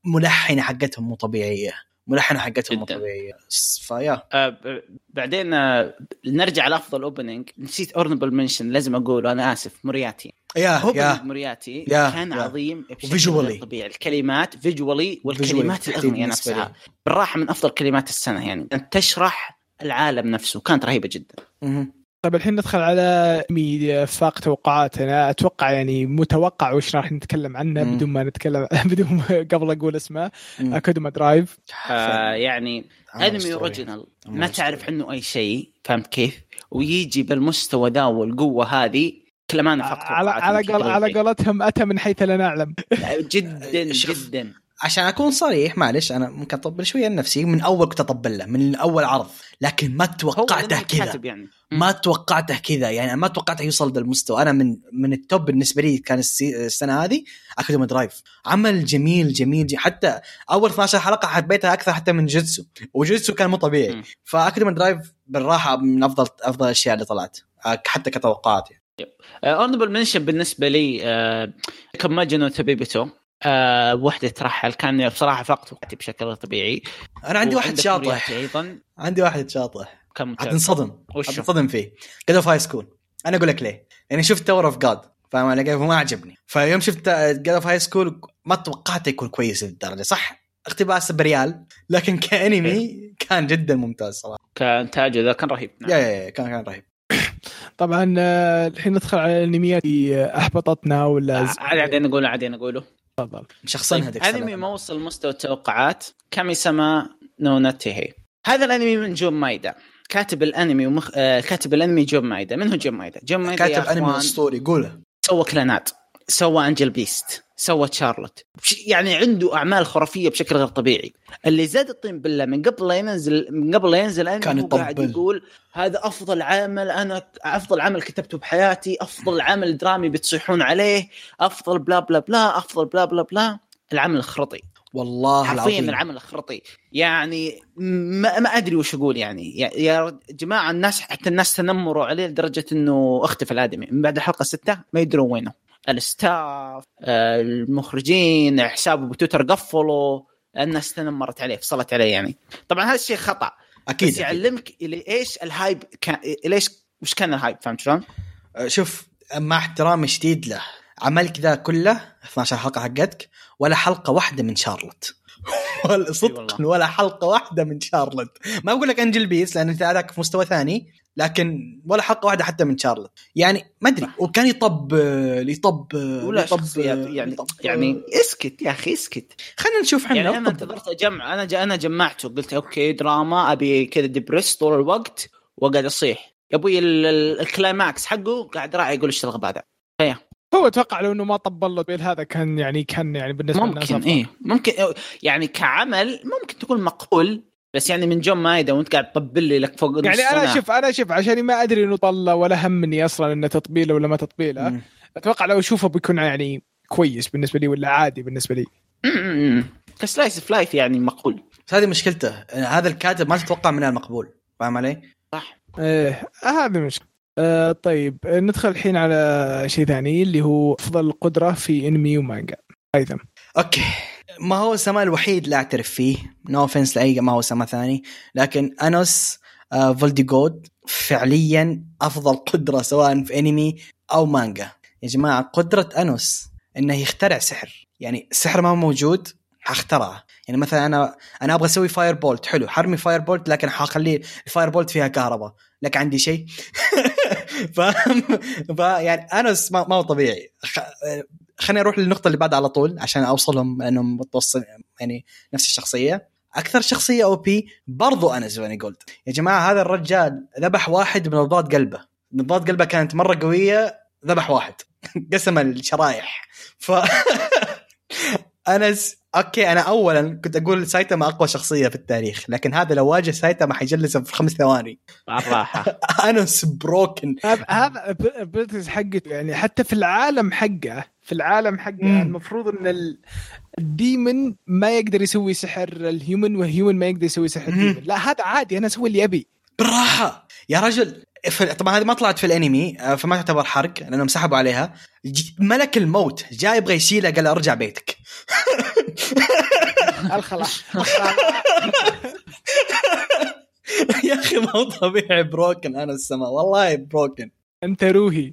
الملحنه حقتهم مو طبيعيه ملحنه حقتهم مو جداً. طبيعيه س- فيا آه، ب- بعدين آه، نرجع لافضل اوبننج نسيت اورنبل منشن لازم اقوله انا اسف مورياتي آه، يا اوبننج يا مورياتي يا- كان يا. عظيم بشكل وفيجوالي. غير طبيعي الكلمات فيجولي والكلمات Visually الاغنيه بالنسبة لي. نفسها بالراحه من افضل كلمات السنه يعني أن تشرح العالم نفسه كانت رهيبه جدا آه، مهم. طيب الحين ندخل على مي فاق توقعاتنا اتوقع يعني متوقع وش راح نتكلم عنه مم. بدون ما نتكلم بدون ما قبل اقول اسمه مم. اكاديما درايف آه يعني انمي اوريجينال ما عمر تعرف story. عنه اي شيء فهمت كيف ويجي بالمستوى ذا والقوه هذه كلمان فقط على على قول على قولتهم اتى من حيث لا نعلم جدا شوف. جدا عشان اكون صريح معلش انا ممكن اطبل شويه لنفسي من اول كنت اطبل له من اول عرض لكن ما هو توقعته لأنه كذا كاتب يعني ما توقعته كذا يعني أنا ما توقعته يوصل ذا المستوى انا من من التوب بالنسبه لي كان السي- السنه هذه اكاديمي درايف عمل جميل جميل جي- حتى اول 12 حلقه حبيتها اكثر حتى من جوتسو وجوتسو كان مو طبيعي مم. فاكاديمي درايف بالراحه من افضل افضل الاشياء اللي طلعت أك- حتى كتوقعات يعني. اونبل منشن بالنسبه لي آه، كم ماجنو تبيبتو آه، وحده ترحل كان بصراحه فقط وقتي بشكل غير طبيعي انا عندي واحد وعندك شاطح مورياتي ايضا عندي واحد شاطح كان ممتاز حتنصدم وشو؟ حتنصدم فيه جاد اوف هاي سكول انا اقول لك ليه يعني شفت تاور اوف جاد فاهم علي كيف وما عجبني فيوم شفت جاد اوف هاي سكول ما توقعته يكون كويس للدرجه صح اقتباس بريال لكن كانمي إيه. كان جدا ممتاز صراحه كانتاجه ذا كان رهيب نعم. يا يا يا كان كان رهيب طبعا آه، الحين ندخل على الانميات اللي احبطتنا ولا آه، عاد عادين اقوله عادين اقوله تفضل شخصنها طيب، ذيك انمي السنة. ما وصل مستوى التوقعات كامي سما نو ناتيهي هذا الانمي من جون مايدا كاتب الانمي ومخ... آه، كاتب الانمي جون مايدا من هو جون مايدا؟ جون مايدا كاتب يا انمي أخوان، اسطوري قوله سوى كلانات سوى انجل بيست سوى تشارلوت بش- يعني عنده اعمال خرافيه بشكل غير طبيعي اللي زاد الطين بالله من قبل لا ينزل من قبل لا ينزل أنا كان هو قاعد يطبل. يقول هذا افضل عمل انا افضل عمل كتبته بحياتي افضل عمل درامي بتصيحون عليه افضل بلا بلا بلا افضل بلا بلا بلا العمل الخرطي والله حرفيا العظيم العمل الخرطي يعني ما, ما ادري وش اقول يعني يا, يا جماعه الناس حتى الناس تنمروا عليه لدرجه انه اختفى الادمي من بعد الحلقه سته ما يدرون وينه الستاف آه، المخرجين حسابه بتويتر قفلوا الناس تنمرت عليه فصلت عليه يعني طبعا هذا الشيء خطا اكيد بس يعلمك الى ايش الهايب كان ليش وش كان الهايب فهمت شلون؟ أه، شوف مع احترامي شديد له عملك ذا كله 12 حلقه حقتك ولا حلقه واحده من شارلوت ولا صدقا والله. ولا حلقه واحده من شارلوت ما اقول لك انجل بيس لان انت هذاك في مستوى ثاني لكن ولا حلقه واحده حتى من شارلوت يعني ما ادري صح. وكان آه، يطبل يطبل ولا يطبل- شخصيات يعني يطبل. يعني اسكت يا اخي اسكت آه، خلينا نشوف يعني احنا انا انتظرت اجمع انا ج... انا جمعته قلت اوكي دراما ابي كذا دبرس طول الوقت واقعد اصيح يا ابوي ال- ال- الكلايماكس حقه قاعد راعي يقول ايش الغباء ذا هو اتوقع لو انه ما طبل له بيل هذا كان يعني كان يعني بالنسبه للناس ممكن أفضل. ايه ممكن يعني كعمل ممكن تكون مقبول بس يعني من جون مايدا وانت قاعد تطبل لي لك فوق نص يعني انا سنة. شوف انا شوف عشان ما ادري انه طلع ولا همني اصلا انه تطبيله ولا ما تطبيله مم. اتوقع لو اشوفه بيكون يعني كويس بالنسبه لي ولا عادي بالنسبه لي م- م- كسلايس اوف لايف يعني مقبول بس هذه مشكلته هذا الكاتب ما تتوقع منه المقبول فاهم علي؟ صح ايه هذا مش آه طيب آه، ندخل الحين على شيء ثاني اللي هو افضل قدره في انمي ومانجا ايضا اوكي ما هو سما الوحيد لا اعترف فيه نو اوفنس لاي ما هو سما ثاني لكن انوس آه، فولديجود فعليا افضل قدره سواء في انمي او مانجا يا جماعه قدره انوس انه يخترع سحر يعني السحر ما هو موجود حاخترعه يعني مثلا انا انا ابغى اسوي فاير بولت حلو حرمي فاير بولت لكن حخلي الفاير بولت فيها كهرباء لك عندي شيء فاهم ف- يعني انس ما ما هو طبيعي خ- خليني اروح للنقطه اللي بعدها على طول عشان اوصلهم لانهم متوصل يعني نفس الشخصيه اكثر شخصيه او بي برضو انا زواني جولد يا جماعه هذا الرجال ذبح واحد من نبضات قلبه نبضات قلبه كانت مره قويه ذبح واحد قسم الشرايح ف انس اوكي انا اولا كنت اقول سايتاما اقوى شخصيه في التاريخ لكن هذا لو واجه سايتاما حيجلسه في خمس ثواني مع الراحه انس بروكن هذا- هذا الابيلتيز حقته يعني حتى في العالم حقه في العالم حقه مم. المفروض ان ال- الديمن ما يقدر يسوي سحر الهيومن والهيومن ما يقدر يسوي سحر مم. الديمن لا هذا عادي انا اسوي اللي ابي بالراحه يا رجل في- طبعا هذه ما طلعت في الانمي آه، فما تعتبر حرق لانهم سحبوا عليها ج- ملك الموت جاء يبغى يشيله قال له ارجع بيتك الخلاء يا اخي مو طبيعي بروكن انا السماء والله بروكن انت روحي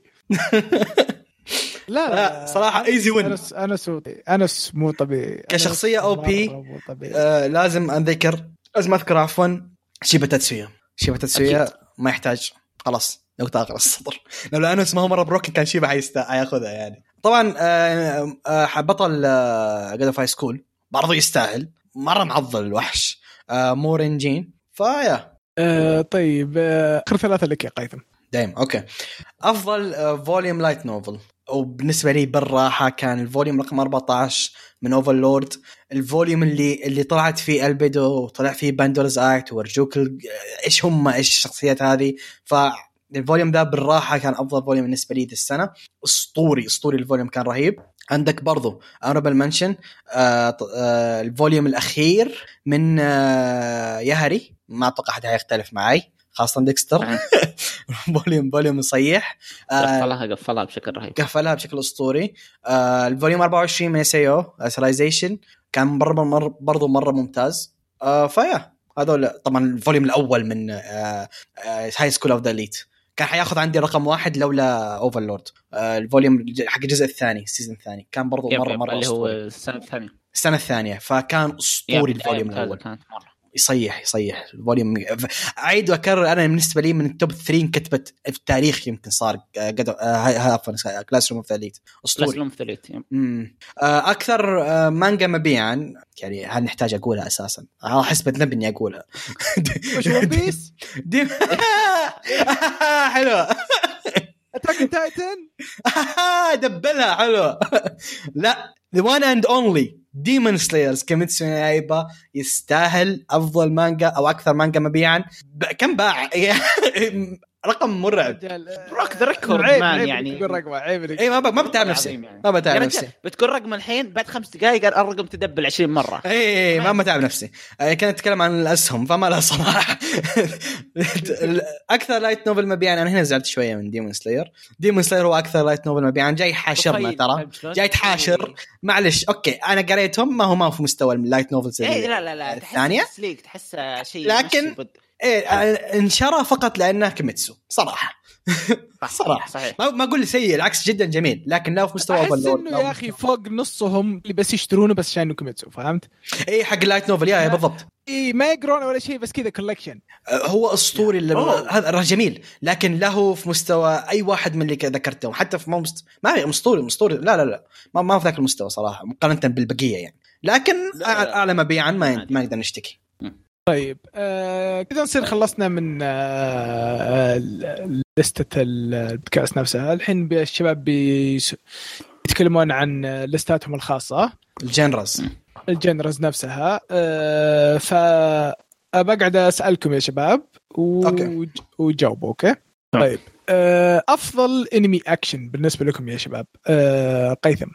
لا لا صراحه ايزي وين انس انس هو- انس مو طبيعي أنس كشخصية OP مرة مو طبيعي. آه، لازم انذكر لازم اذكر عفوا شيبا تاتسويا شيبا تاتسويا أكيد. ما يحتاج خلاص نقطة على الصدر لو لانوس ما هو مرة بروكن كان شيبا حيستا حياخذها يعني طبعا آه، آه، بطل آه، جاد اوف هاي سكول برضه يستاهل مرة معضل الوحش آه، مورين جين فيا آه طيب آه، اخر ثلاثه لك يا قيثم دايم آه، اوكي افضل فوليوم لايت نوفل وبالنسبه لي بالراحه كان الفوليوم رقم 14 من اوفرلورد الفوليوم اللي اللي طلعت فيه البيدو وطلع فيه باندورز اكت ورجوك ال- ايش هم ايش الشخصيات هذه فالفوليوم ده بالراحه كان افضل فوليوم بالنسبه لي دي السنه اسطوري اسطوري الفوليوم كان رهيب عندك برضو انربل منشن آه ط- آه الفوليوم الاخير من آه يهري ما اتوقع احد حيختلف معي خاصه ديكستر فوليوم فوليوم يصيح آه قفلها قفلها بشكل رهيب قفلها بشكل اسطوري آه الفوليوم 24 من اس اي او اسلايزيشن آه، كان مره مر برضه مره ممتاز آه فيا هذول طبعا الفوليوم الاول من آه، هاي سكول اوف ذا ليت كان حياخذ عندي رقم واحد لولا اوفرلورد آه الفوليوم حق الجزء الثاني السيزون الثاني كان برضه يب- مره يب، مره اللي هو اسطوري السنه الثانيه السنه الثانيه فكان يب، اسطوري بداية الفوليوم ممتازة الاول كانت مره يصيح يصيح الفوليوم اعيد واكرر انا بالنسبه لي من التوب 3 كتبت في التاريخ يمكن صار آه، قد آه، هاي- هاي عفوا كلاس روم اوف ذا ليت اسطوري اسلوب ثليت يب. مم. آه، اكثر آه، مانجا مبيعا يعني هل نحتاج اقولها اساسا؟ آه، احس بذنب اني اقولها وش ون بيس؟ دي- حلوه اتاك تايتن دبلها حلو لا ذا وان اند اونلي ديمون سلايرز كيميتسو نو يايبا يستاهل افضل مانجا او اكثر مانجا مبيعا ب- كم باع رقم مرعب Rock the record, man، يعني. تقول رقمه عيب إنك- اي ما ب- ما بتعب والله نفسي العظيم يعني. ما يا بتعب رجال، نفسي بتقول رقم الحين بعد خمس دقائق الرقم تدبل 20 مره اي إيه، ما ما تعب نفسي آه، كنت اتكلم عن الاسهم فما لها صراحه اكثر لايت نوفل مبيعا انا هنا زعلت شويه من ديمون سلاير ديمون سلاير هو اكثر لايت نوفل مبيعا جاي حاشرنا تخيل، ترى فاهم شلون؟ جاي تحاشر معلش اوكي انا قريتهم ما هو ما هو في مستوى اللايت نوفلز اي إيه، لا لا لا الثانيه الثانيه تسليك تحس شيء لكن- ماشي بد- إيه آه، انشرى فقط لانه كيميتسو صراحه صح صراحة. صحيح ما ما اقول سيء العكس جدا جميل لكن لا في مستوى احس Overlord، انه لا يا اخي فوق نصهم اللي بس يشترونه بس عشان كوميتسو فهمت؟ اي إيه، حق اللايت نوفل يا يا بالضبط اي ما يقرون ولا شيء بس كذا كولكشن آه، هو اسطوري اللي- أوه. هذا راه جميل لكن له في مستوى اي واحد من اللي ك- ذكرتهم حتى في ما مست... ما اسطوري اسطوري لا لا لا ما ما في ذاك المستوى صراحه مقارنه بالبقيه يعني لكن أع- لا، لا. اعلى مبيعا ما عادي. ما نقدر نشتكي طيب آه كذا نصير خلصنا من آه، آه ال- لستة البودكاست نفسها الحين بي- الشباب بيس- بيتكلمون عن آه، لستاتهم الخاصه الجنرز الجنرز نفسها آه ف بقعد اسالكم يا شباب و... أوكي. وجاوبوا اوكي طيب آه افضل انمي اكشن بالنسبه لكم يا شباب آه قيثم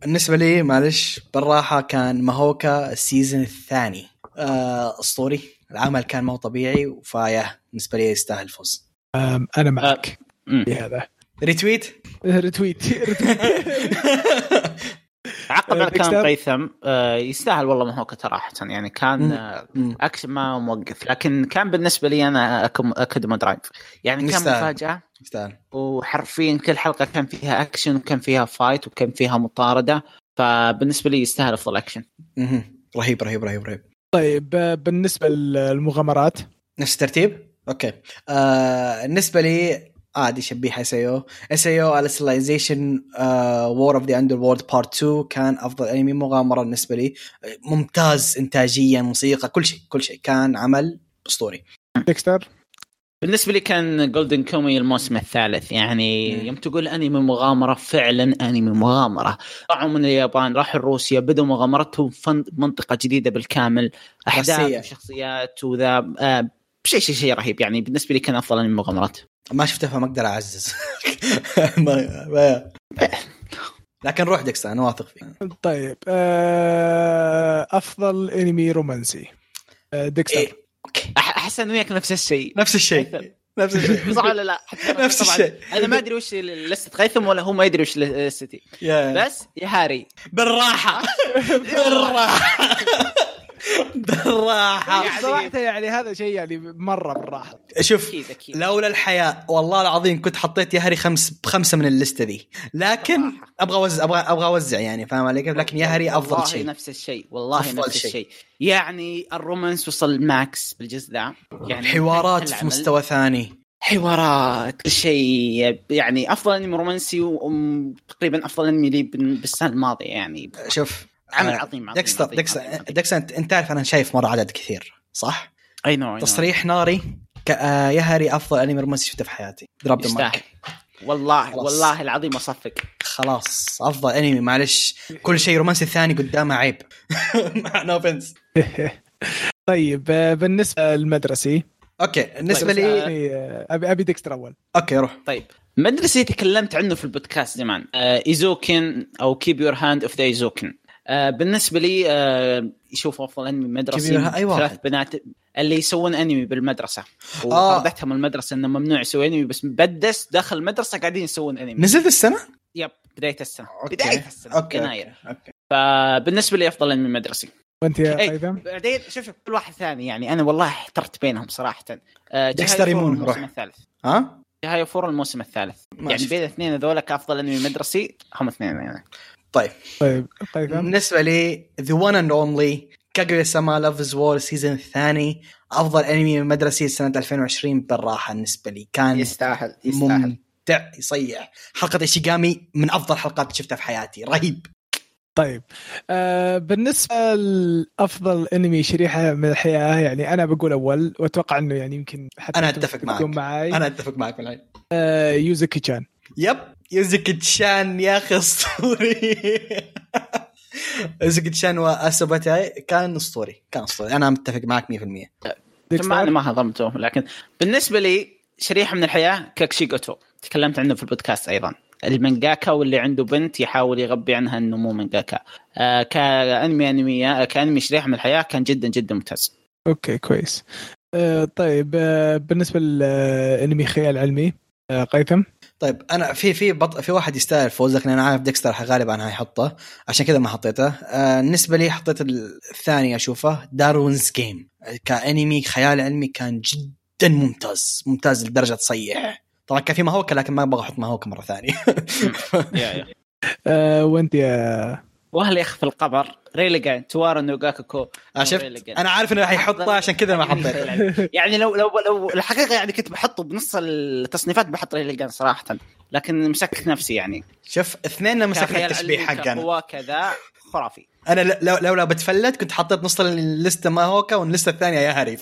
بالنسبه لي معلش بالراحه كان ماهوكا السيزون الثاني آه، اسطوري العمل كان مو طبيعي فيا بالنسبه لي يستاهل فوز آم، انا معك أمم. في هذا ريتويت ريتويت ريتويت عقب على ديكستر. كلام قيثم آه، يستاهل والله ما هو صراحه يعني مم. كان آه، اكشن ما موقف لكن كان بالنسبه لي انا أكم- اكدم درايف يعني كان يستاهل. مفاجاه يستاهل وحرفيا كل حلقه كان فيها اكشن وكان فيها فايت وكان فيها مطارده فبالنسبه لي يستاهل افضل اكشن مهم. رهيب رهيب رهيب رهيب طيب آه، بالنسبه للمغامرات نفس الترتيب؟ اوكي آه، بالنسبه لي آه، عادي شبيح اس اي او اس اي او الستلايزيشن وور اوف ذا اندر وورد بارت 2 كان افضل انمي مغامره بالنسبه لي آه، ممتاز انتاجيا موسيقى كل شيء كل شيء كان عمل اسطوري ديكستر بالنسبه لي كان جولدن كومي الموسم الثالث يعني مم. يوم تقول انمي مغامره فعلا انمي مغامره راحوا من اليابان راحوا روسيا بدوا مغامرتهم في منطقه جديده بالكامل روسية. احداث وشخصيات وذا آه شيء شيء شيء رهيب يعني بالنسبه لي كان افضل انمي مغامرات ما شفته فما اقدر اعزز ما- ما- لكن روح دكسا انا واثق فيك طيب آه، افضل انمي رومانسي آه، ديكستر إيه. اوكي أح- احس انه وياك نفس الشيء نفس الشيء نفس الشيء صح ولا لا؟ حتى أنا نفس طبعاً الشيء. انا ما ادري وش لستة غيثم ولا هو ما يدري وش لستي يا- بس يا هاري بالراحه بالراحه بالراحه يعني- صراحه يعني هذا شيء يعني مره بالراحه شوف اكيد اكيد لولا الحياة والله العظيم كنت حطيت يا هري خمس بخمسة من اللستة ذي لكن صراحة. ابغى اوزع ابغى ابغى اوزع يعني فاهم علي كيف؟ لكن يا هري افضل والله شيء نفس الشيء والله أفضل نفس شيء. الشيء يعني الرومانس وصل ماكس بالجزء ذا يعني حوارات العمل- في مستوى ثاني حوارات كل شيء يعني افضل انمي رومانسي وتقريبا افضل انمي لي بال- بالسنه الماضيه يعني شوف عمل آه، عظيم عظيم دكستر عظيم، دكستر عظيم، عظيم. دكستر انت أنت تعرف انا شايف مرة عدد كثير صح؟ اي نوع تصريح ناري ك- آه، يا هري افضل انمي رومانسي شفته في حياتي دروب يستاهل ماك والله خلاص. والله العظيم اصفق خلاص افضل انمي معلش كل شيء رومانسي ثاني قدامه عيب نو اوفنس طيب آه، بالنسبه للمدرسي اوكي بالنسبه طيب، لي آه، يعني، آه، ابي ابي ديكستر اول اوكي روح طيب مدرسة تكلمت عنه في البودكاست زمان آه ايزوكن او كيب يور هاند اوف ذا ايزوكن آه بالنسبه لي آه يشوف افضل انمي Keep مدرسي Your- أي واحد. ثلاث بنات اللي يسوون انمي بالمدرسه آه. وطردتهم المدرسه انه ممنوع يسوي انمي بس بدس داخل المدرسه قاعدين يسوون انمي نزلت السنه؟ يب بدايه السنه أوكي. بدايه السنه أوكي، يناير اوكي فبالنسبه لي افضل انمي مدرسي وانت يا إيه. قيثم بعدين شوف شوف كل واحد ثاني يعني انا والله احترت بينهم صراحه آه Dexter جهاي فور Moon، الموسم روح. الثالث ها؟ جهاي فور الموسم الثالث ما يعني شفت. بين الاثنين هذول كافضل انمي مدرسي هم اثنين يعني طيب طيب قيثم بالنسبه لي ذا ون اند اونلي كاغويا سما لاف از وور السيزون الثاني افضل انمي مدرسي سنه 2020 بالراحه بالنسبه لي كان يستاهل ممتع يصيح حلقه ايشيغامي من افضل حلقات اللي شفتها في حياتي رهيب طيب آه بالنسبه لافضل انمي شريحه من الحياه يعني انا بقول اول واتوقع انه يعني يمكن حتى أنا أنتم أتفق تكون معك. معاي انا اتفق معك من العين آه يوزكي تشان يب يوزكي تشان يا اخي اسطوري يوزكي تشان واسوباتاي كان اسطوري كان اسطوري انا متفق معك 100% ثم انا ديكستر ما هضمته لكن بالنسبه لي شريحه من الحياه كاكشيغوتو تكلمت عنه في البودكاست ايضا المانجاكا واللي عنده بنت يحاول يغبي عنها انه مو مانجاكا آه كانمي انمي كانمي شريحه من الحياه كان جدا جدا ممتاز اوكي كويس آه طيب آه بالنسبه لانمي خيال علمي آه قيثم طيب انا في في بط... في واحد يستاهل فوز لكن انا عارف ديكستر غالبا هيحطه عشان كذا ما حطيته آه، بالنسبه لي حطيت الثاني اشوفه داروينز جيم كانمي خيال علمي كان جدا ممتاز ممتاز لدرجه تصيح طبعا كان في ماهوكا لكن ما ابغى احط ماهوكا مره ثانيه آه وانت يا وهل يخ في القبر ريليجان توارا نوغاكوكو آه، شفت انا عارف انه حيحطه عشان كذا ما حطيته يعني لو لو لو الحقيقه يعني كنت بحطه بنص التصنيفات بحط ريليجان صراحه لكن مسكت نفسي يعني شوف اثنين مسكنا كخيال التشبيه علمي، حقنا كقوة كذا خرافي انا ل- لو لولا بتفلت كنت حطيت نص اللسته ماهوكا واللسته الثانيه يا هري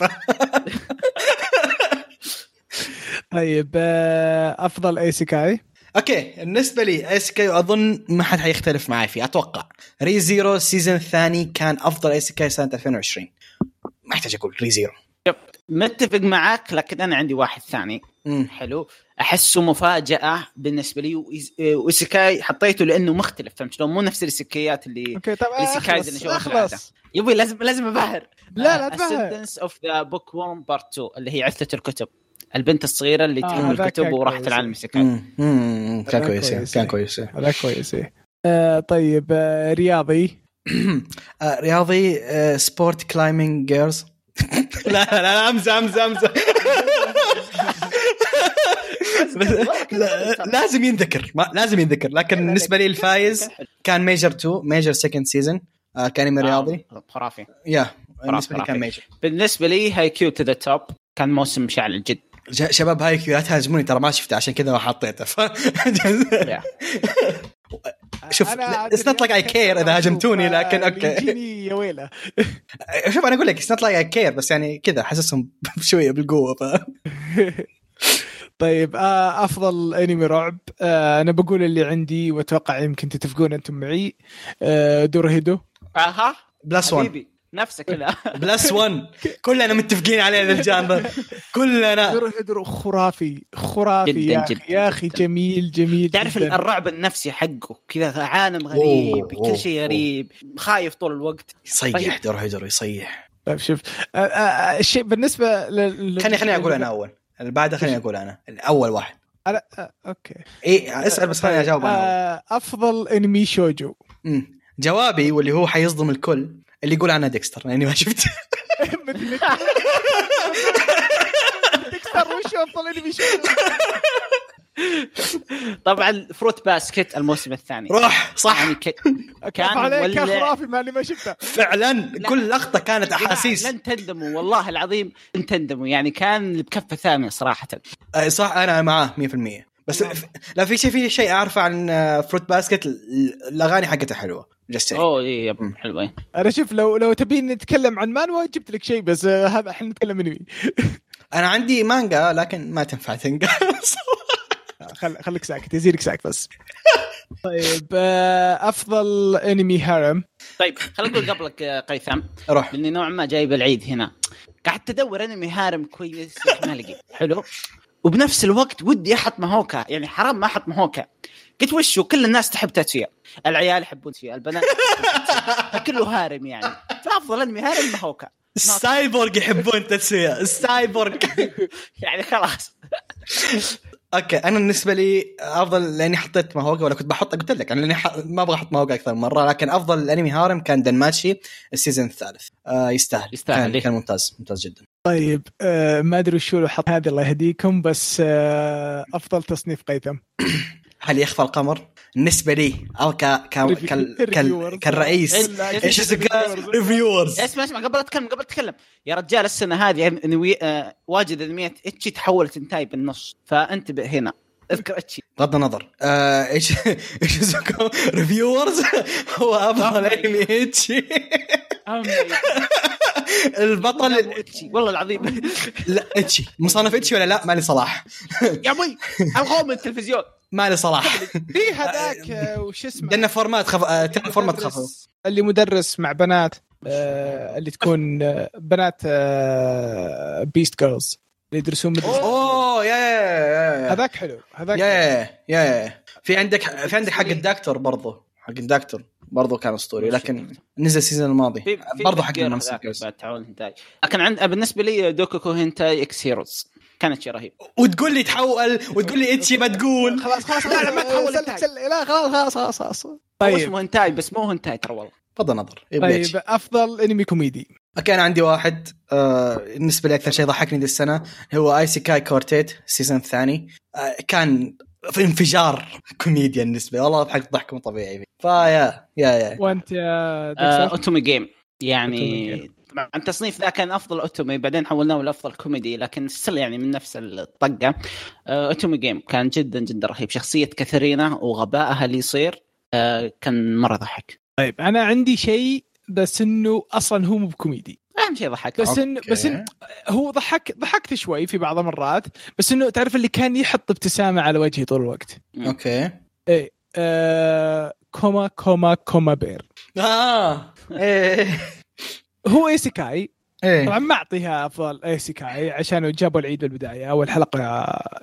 طيب آه افضل اي سيكاي اوكي بالنسبه لي ايسكاي اظن ما حد حيختلف معي فيه اتوقع ري زيرو السيزون الثاني كان افضل ايسكاي سنه 2020 ما احتاج اقول ري زيرو متفق معك لكن انا عندي واحد ثاني مم. حلو احسه مفاجاه بالنسبه لي وإيز- وإيسيكاي حطيته لانه مختلف فهمت شلون مو نفس الاسكايات اللي اوكي طب الإيسيكايز اللي اخلص, شغل العادة. أخلص. يبي لازم لازم ابهر لا لا تبهر اسندنس اوف ذا بوك وورم بارت 2 اللي هي عثله الكتب البنت الصغيره اللي آه، تحمل ذاك الكتب كان وراحت كويس. العالم السكاي مم. مم. كان كان كويس يعني. كويس. كان كويس هذا كويس إيه. آه طيب آه رياضي آه، رياضي آه، سبورت كلايمينج جيرز لا لا لا امزح امزح امزح بس- لا- لازم ينذكر ما- لازم ينذكر لكن بالنسبه لي الفايز كان ميجر 2 ميجر سكند سيزون كان انمي رياضي آه، خرافي يا بالنسبه لي كان خرافي. ميجر بالنسبه لي هاي كيو تو ذا توب كان موسم مشعل جدا ج- شباب هاي كيو لا تهاجموني ترى ما شفته عشان كذا ما حطيته ف... يا. شوف أنا it's not like I care إذا هاجمتوني، لكن أوكي. بيجيني يا آه، ويله شوف انا اقول لك اتس نوت لايك كير بس يعني كذا حاسسهم شويه بالقوه ف طيب آه، افضل انمي رعب آه، انا بقول اللي عندي واتوقع يمكن تتفقون انتم معي آه، دور هيدو اها بلس 1 حبيبي نفسك كذا بلس 1 كلنا متفقين عليه ذا الجانب طيب. كلنا دور هيدو خرافي خرافي جداً، يا اخي جداً، يا اخي جداً. جميل جميل تعرف جداً. الرعب النفسي حقه كذا عالم غريب أوه، كل شيء أوه. غريب خايف طول الوقت يصيح دور هجر يصيح طيب شوف آه، آه، الشيء بالنسبه لل خليني خليني اقول انا اول اللي بعده خليني اقول انا اول واحد أنا- آه، اوكي اي اسال بس خليني اجاوب انا آه، افضل انمي شوجو أمم. جوابي واللي هو حيصدم الكل اللي يقول انا ديكستر لاني ما شفت مثلك ديكستر وش افضل انمي شوجو طبعا فروت باسكت الموسم الثاني روح صح يعني ك... كان كان عليك يا مولع. خرافي مع اللي ما شفته فعلا كل لقطه كانت احاسيس لن تندموا والله العظيم لن تندموا يعني كان بكفه ثانيه صراحه أي صح انا معاه 100% بس نعم. ف- لا في شيء في شيء اعرفه عن آه، فروت باسكت ال- الاغاني حقتها حلوه جست اوه اي إيه، يا مم. أبو حلوين انا شوف لو لو تبين نتكلم عن مانوا جبت لك شيء بس آه، هذا احنا نتكلم انمي انا عندي مانجا لكن ما تنفع تنقص آه، خل... خليك ساكت يزيدك ساكت بس طيب آه، افضل انمي هارم طيب خليني اقول قبلك يا قيثم روح لاني نوعا ما جايب العيد هنا قعدت ادور انمي هارم كويس لكن ما لقيت حلو وبنفس الوقت ودي احط ماهوكا يعني حرام ما احط ماهوكا قلت وشو كل الناس تحب تاتسويا العيال يحبون تاتسويا البنات يحبون تاتسويا. فكله هارم يعني فافضل انمي هارم ماهوكا السايبورغ يحبون تسويه السايبورغ يعني خلاص اوكي انا بالنسبه لي افضل لاني حطيت ماهوكا ولا كنت بحط قلت لك انا لاني ح... ما ابغى احط ماهوكا اكثر من مره لكن افضل انمي هارم كان دنماتشي السيزون الثالث آه يستاهل يستاهل، كان, ليه؟ كان ممتاز ممتاز جدا طيب آه، ما ادري شو لو حط هذه الله يهديكم بس آه، افضل تصنيف قيثم هل يخفى القمر؟ بالنسبه لي او ك... ك... ك... Reviewers. ك... كالرئيس إيش- ايش ريفيورز اسمع اسمع قبل اتكلم قبل اتكلم يا رجال السنه هذه انمي آه واجد انميات اتشي تحولت انتاي بالنص فانتبه هنا اذكر اتشي بغض النظر آه، ايش ايش اسمكم ريفيورز هو افضل انمي اتشي البطل اتشي والله العظيم لا اتشي مصنف اتشي ولا لا مالي صلاح يا ابوي ابغاه من التلفزيون مالي صلاح في هذاك آه، وش اسمه لان فورمات خف... آه، ترى فورمات خفض مدرس- اللي مدرس مع بنات آه، اللي تكون آه، بنات بيست جيرلز اللي يدرسون مدرسة. اوه يا يا- يا هذاك حلو هذاك يا يا يا يا في عندك في عندك حق الدكتور برضو حق الدكتور برضو كان اسطوري لكن نزل السيزون الماضي في- في برضو حق غير المنصب هذاك بعد تعاون هنتاي لكن عند بالنسبه لي دوكوكو هنتاي اكس هيروز كانت شيء رهيب وتقول لي تحول وتقول لي اتشي ما تقول خلاص خلاص لا، لا، ما تحول سلك- انتهى. سلك. لا خلاص خلاص خلاص خلاص طيب. طيب اسمه هنتاي بس مو هنتاي ترى والله بغض النظر يبقى طيب إتشي. افضل انمي كوميدي اوكي انا عندي واحد آه بالنسبه لي اكثر شيء ضحكني دي السنه هو اي سي كاي كورتيت السيزون الثاني آه كان في انفجار كوميديا بالنسبه لي والله ضحكت ضحك مو طبيعي فيه. فيا يا يا وانت يا آه، دكتور؟ اوتومي جيم أوتومي يعني طبعا التصنيف ذا كان افضل اوتومي بعدين حولناه لافضل كوميدي لكن ستيل يعني من نفس الطقه آه، اوتومي جيم كان جدا جدا رهيب شخصيه كاثرينا وغبائها اللي يصير آه، كان مره ضحك طيب انا عندي شيء بس انه اصلا هو مو بكوميدي اهم شيء يعني ضحك بس انه بس انه هو ضحك ضحكت شوي في بعض المرات بس انه تعرف اللي كان يحط ابتسامه على وجهي طول الوقت اوكي آه كوما كوما كوما بير اه ايه هو ايسيكاي طبعا ايه ما اعطيها افضل ايسيكاي إيه، عشان جابوا العيد بالبدايه اول حلقه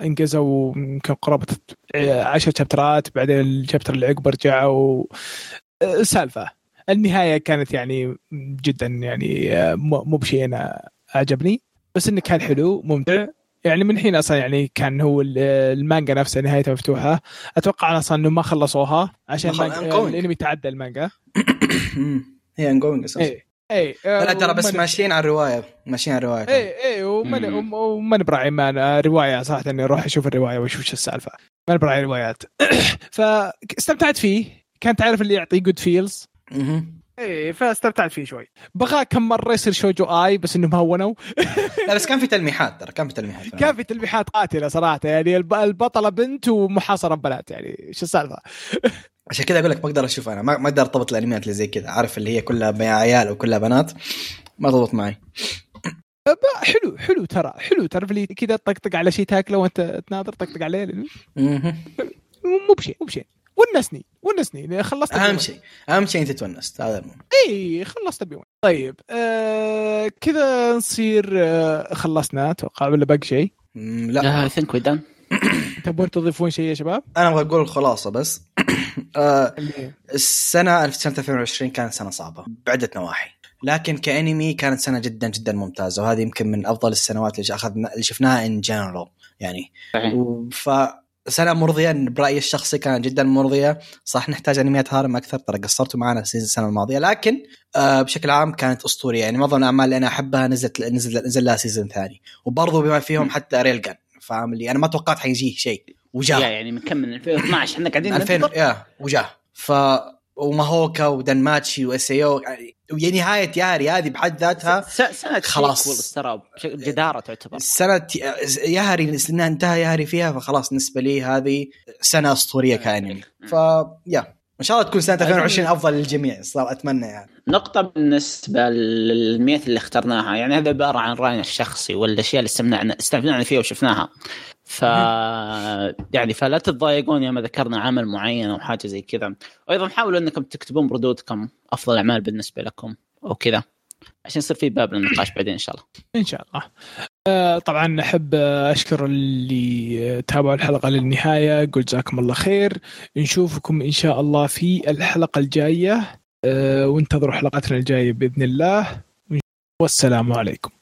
انجزوا يمكن قرابه 10 شابترات بعدين الشابتر اللي عقبه رجعوا آه، سالفه النهايه كانت يعني جدا يعني آه، مو مو بشيء انا اعجبني بس انه كان حلو ممتع يعني من حين اصلا يعني كان هو ال- المانجا نفسها نهايتها مفتوحه اتوقع اصلا انه ما خلصوها عشان ما خل- المانجا- ongoing. الانمي تعدى المانجا إيه. هي انجوينج اساسا اي اي طيب. لا ترى بس ومن- ماشيين على الروايه ماشيين على الروايه اي اي ومن مم. وم- ومن براعي ما أنا روايه صراحه اني اروح اشوف الروايه واشوف وش السالفه من براعي روايات فاستمتعت فيه كان تعرف اللي يعطي جود فيلز مهم. ايه فاستمتعت فيه شوي بغى كم مره يصير شوجو اي بس انهم هونوا لا بس كان في تلميحات ترى كان في تلميحات في كان في تلميحات قاتله صراحه يعني الب- البطله بنت ومحاصره بنات يعني شو السالفه عشان كذا اقول لك ما اقدر اشوف انا ما ما اقدر ارتبط الانميات اللي زي كذا عارف اللي هي كلها بين عيال وكلها بنات ما تضبط معي ب- حلو حلو ترى حلو تعرف لي كذا طقطق على شيء تاكله وانت تناظر طقطق عليه مهم. مو بشيء مو بشيء ونسني ونسني يعني خلصت اهم اليوم. شيء اهم شيء انت تونست هذا المهم اي خلصت بيوم طيب آه كذا نصير آه خلصنا اتوقع ولا باقي شيء مم، لا لا اي ثينك وي دان تبون تضيفون شيء يا شباب؟ انا ابغى اقول الخلاصه بس آه، اللي- السنه سنه 2020 كانت سنه صعبه بعده نواحي لكن كانمي كانت سنه جدا جدا ممتازه وهذه يمكن من افضل السنوات اللي اخذنا اللي شفناها ان جنرال يعني صحيح. و- فسنه مرضيه برايي الشخصي كانت جدا مرضيه صح نحتاج انميات هارم اكثر ترى قصرتوا معنا السيزون السنه الماضيه لكن آه بشكل عام كانت اسطوريه يعني معظم الاعمال اللي انا احبها نزلت نزل نزل لها سيزون ثاني وبرضه بما فيهم حتى ريلجان فاهم اللي انا ما توقعت حيجيه شيء وجاه يعني من كم من 2012 احنا قاعدين 2000 ننتظر يا وجاه ف وماهوكا ودنماتشي واسيو يعني نهايه ياري هذه بحد ذاتها س- سنه خلاص. خلاص ترى بشكل جداره تعتبر سنة ياري انها انتهى ياري فيها فخلاص بالنسبة لي هذه سنة اسطورية كانمي ف يا ان شاء الله تكون سنة 2020 افضل للجميع صار اتمنى يعني نقطة بالنسبة للميت اللي اخترناها يعني هذا عبارة عن رأينا الشخصي والأشياء اللي استمتعنا استمتعنا فيها وشفناها ف يعني فلا تتضايقون لما ذكرنا عمل معين أو حاجة زي كذا وأيضا حاولوا أنكم تكتبون ردودكم أفضل أعمال بالنسبة لكم أو كذا عشان يصير في باب للنقاش بعدين إن شاء الله ان شاء الله آه، طبعا احب آه، اشكر اللي آه، تابعوا الحلقه للنهايه قل جزاكم الله خير نشوفكم ان شاء الله في الحلقه الجايه آه، وانتظروا حلقتنا الجايه باذن الله والسلام عليكم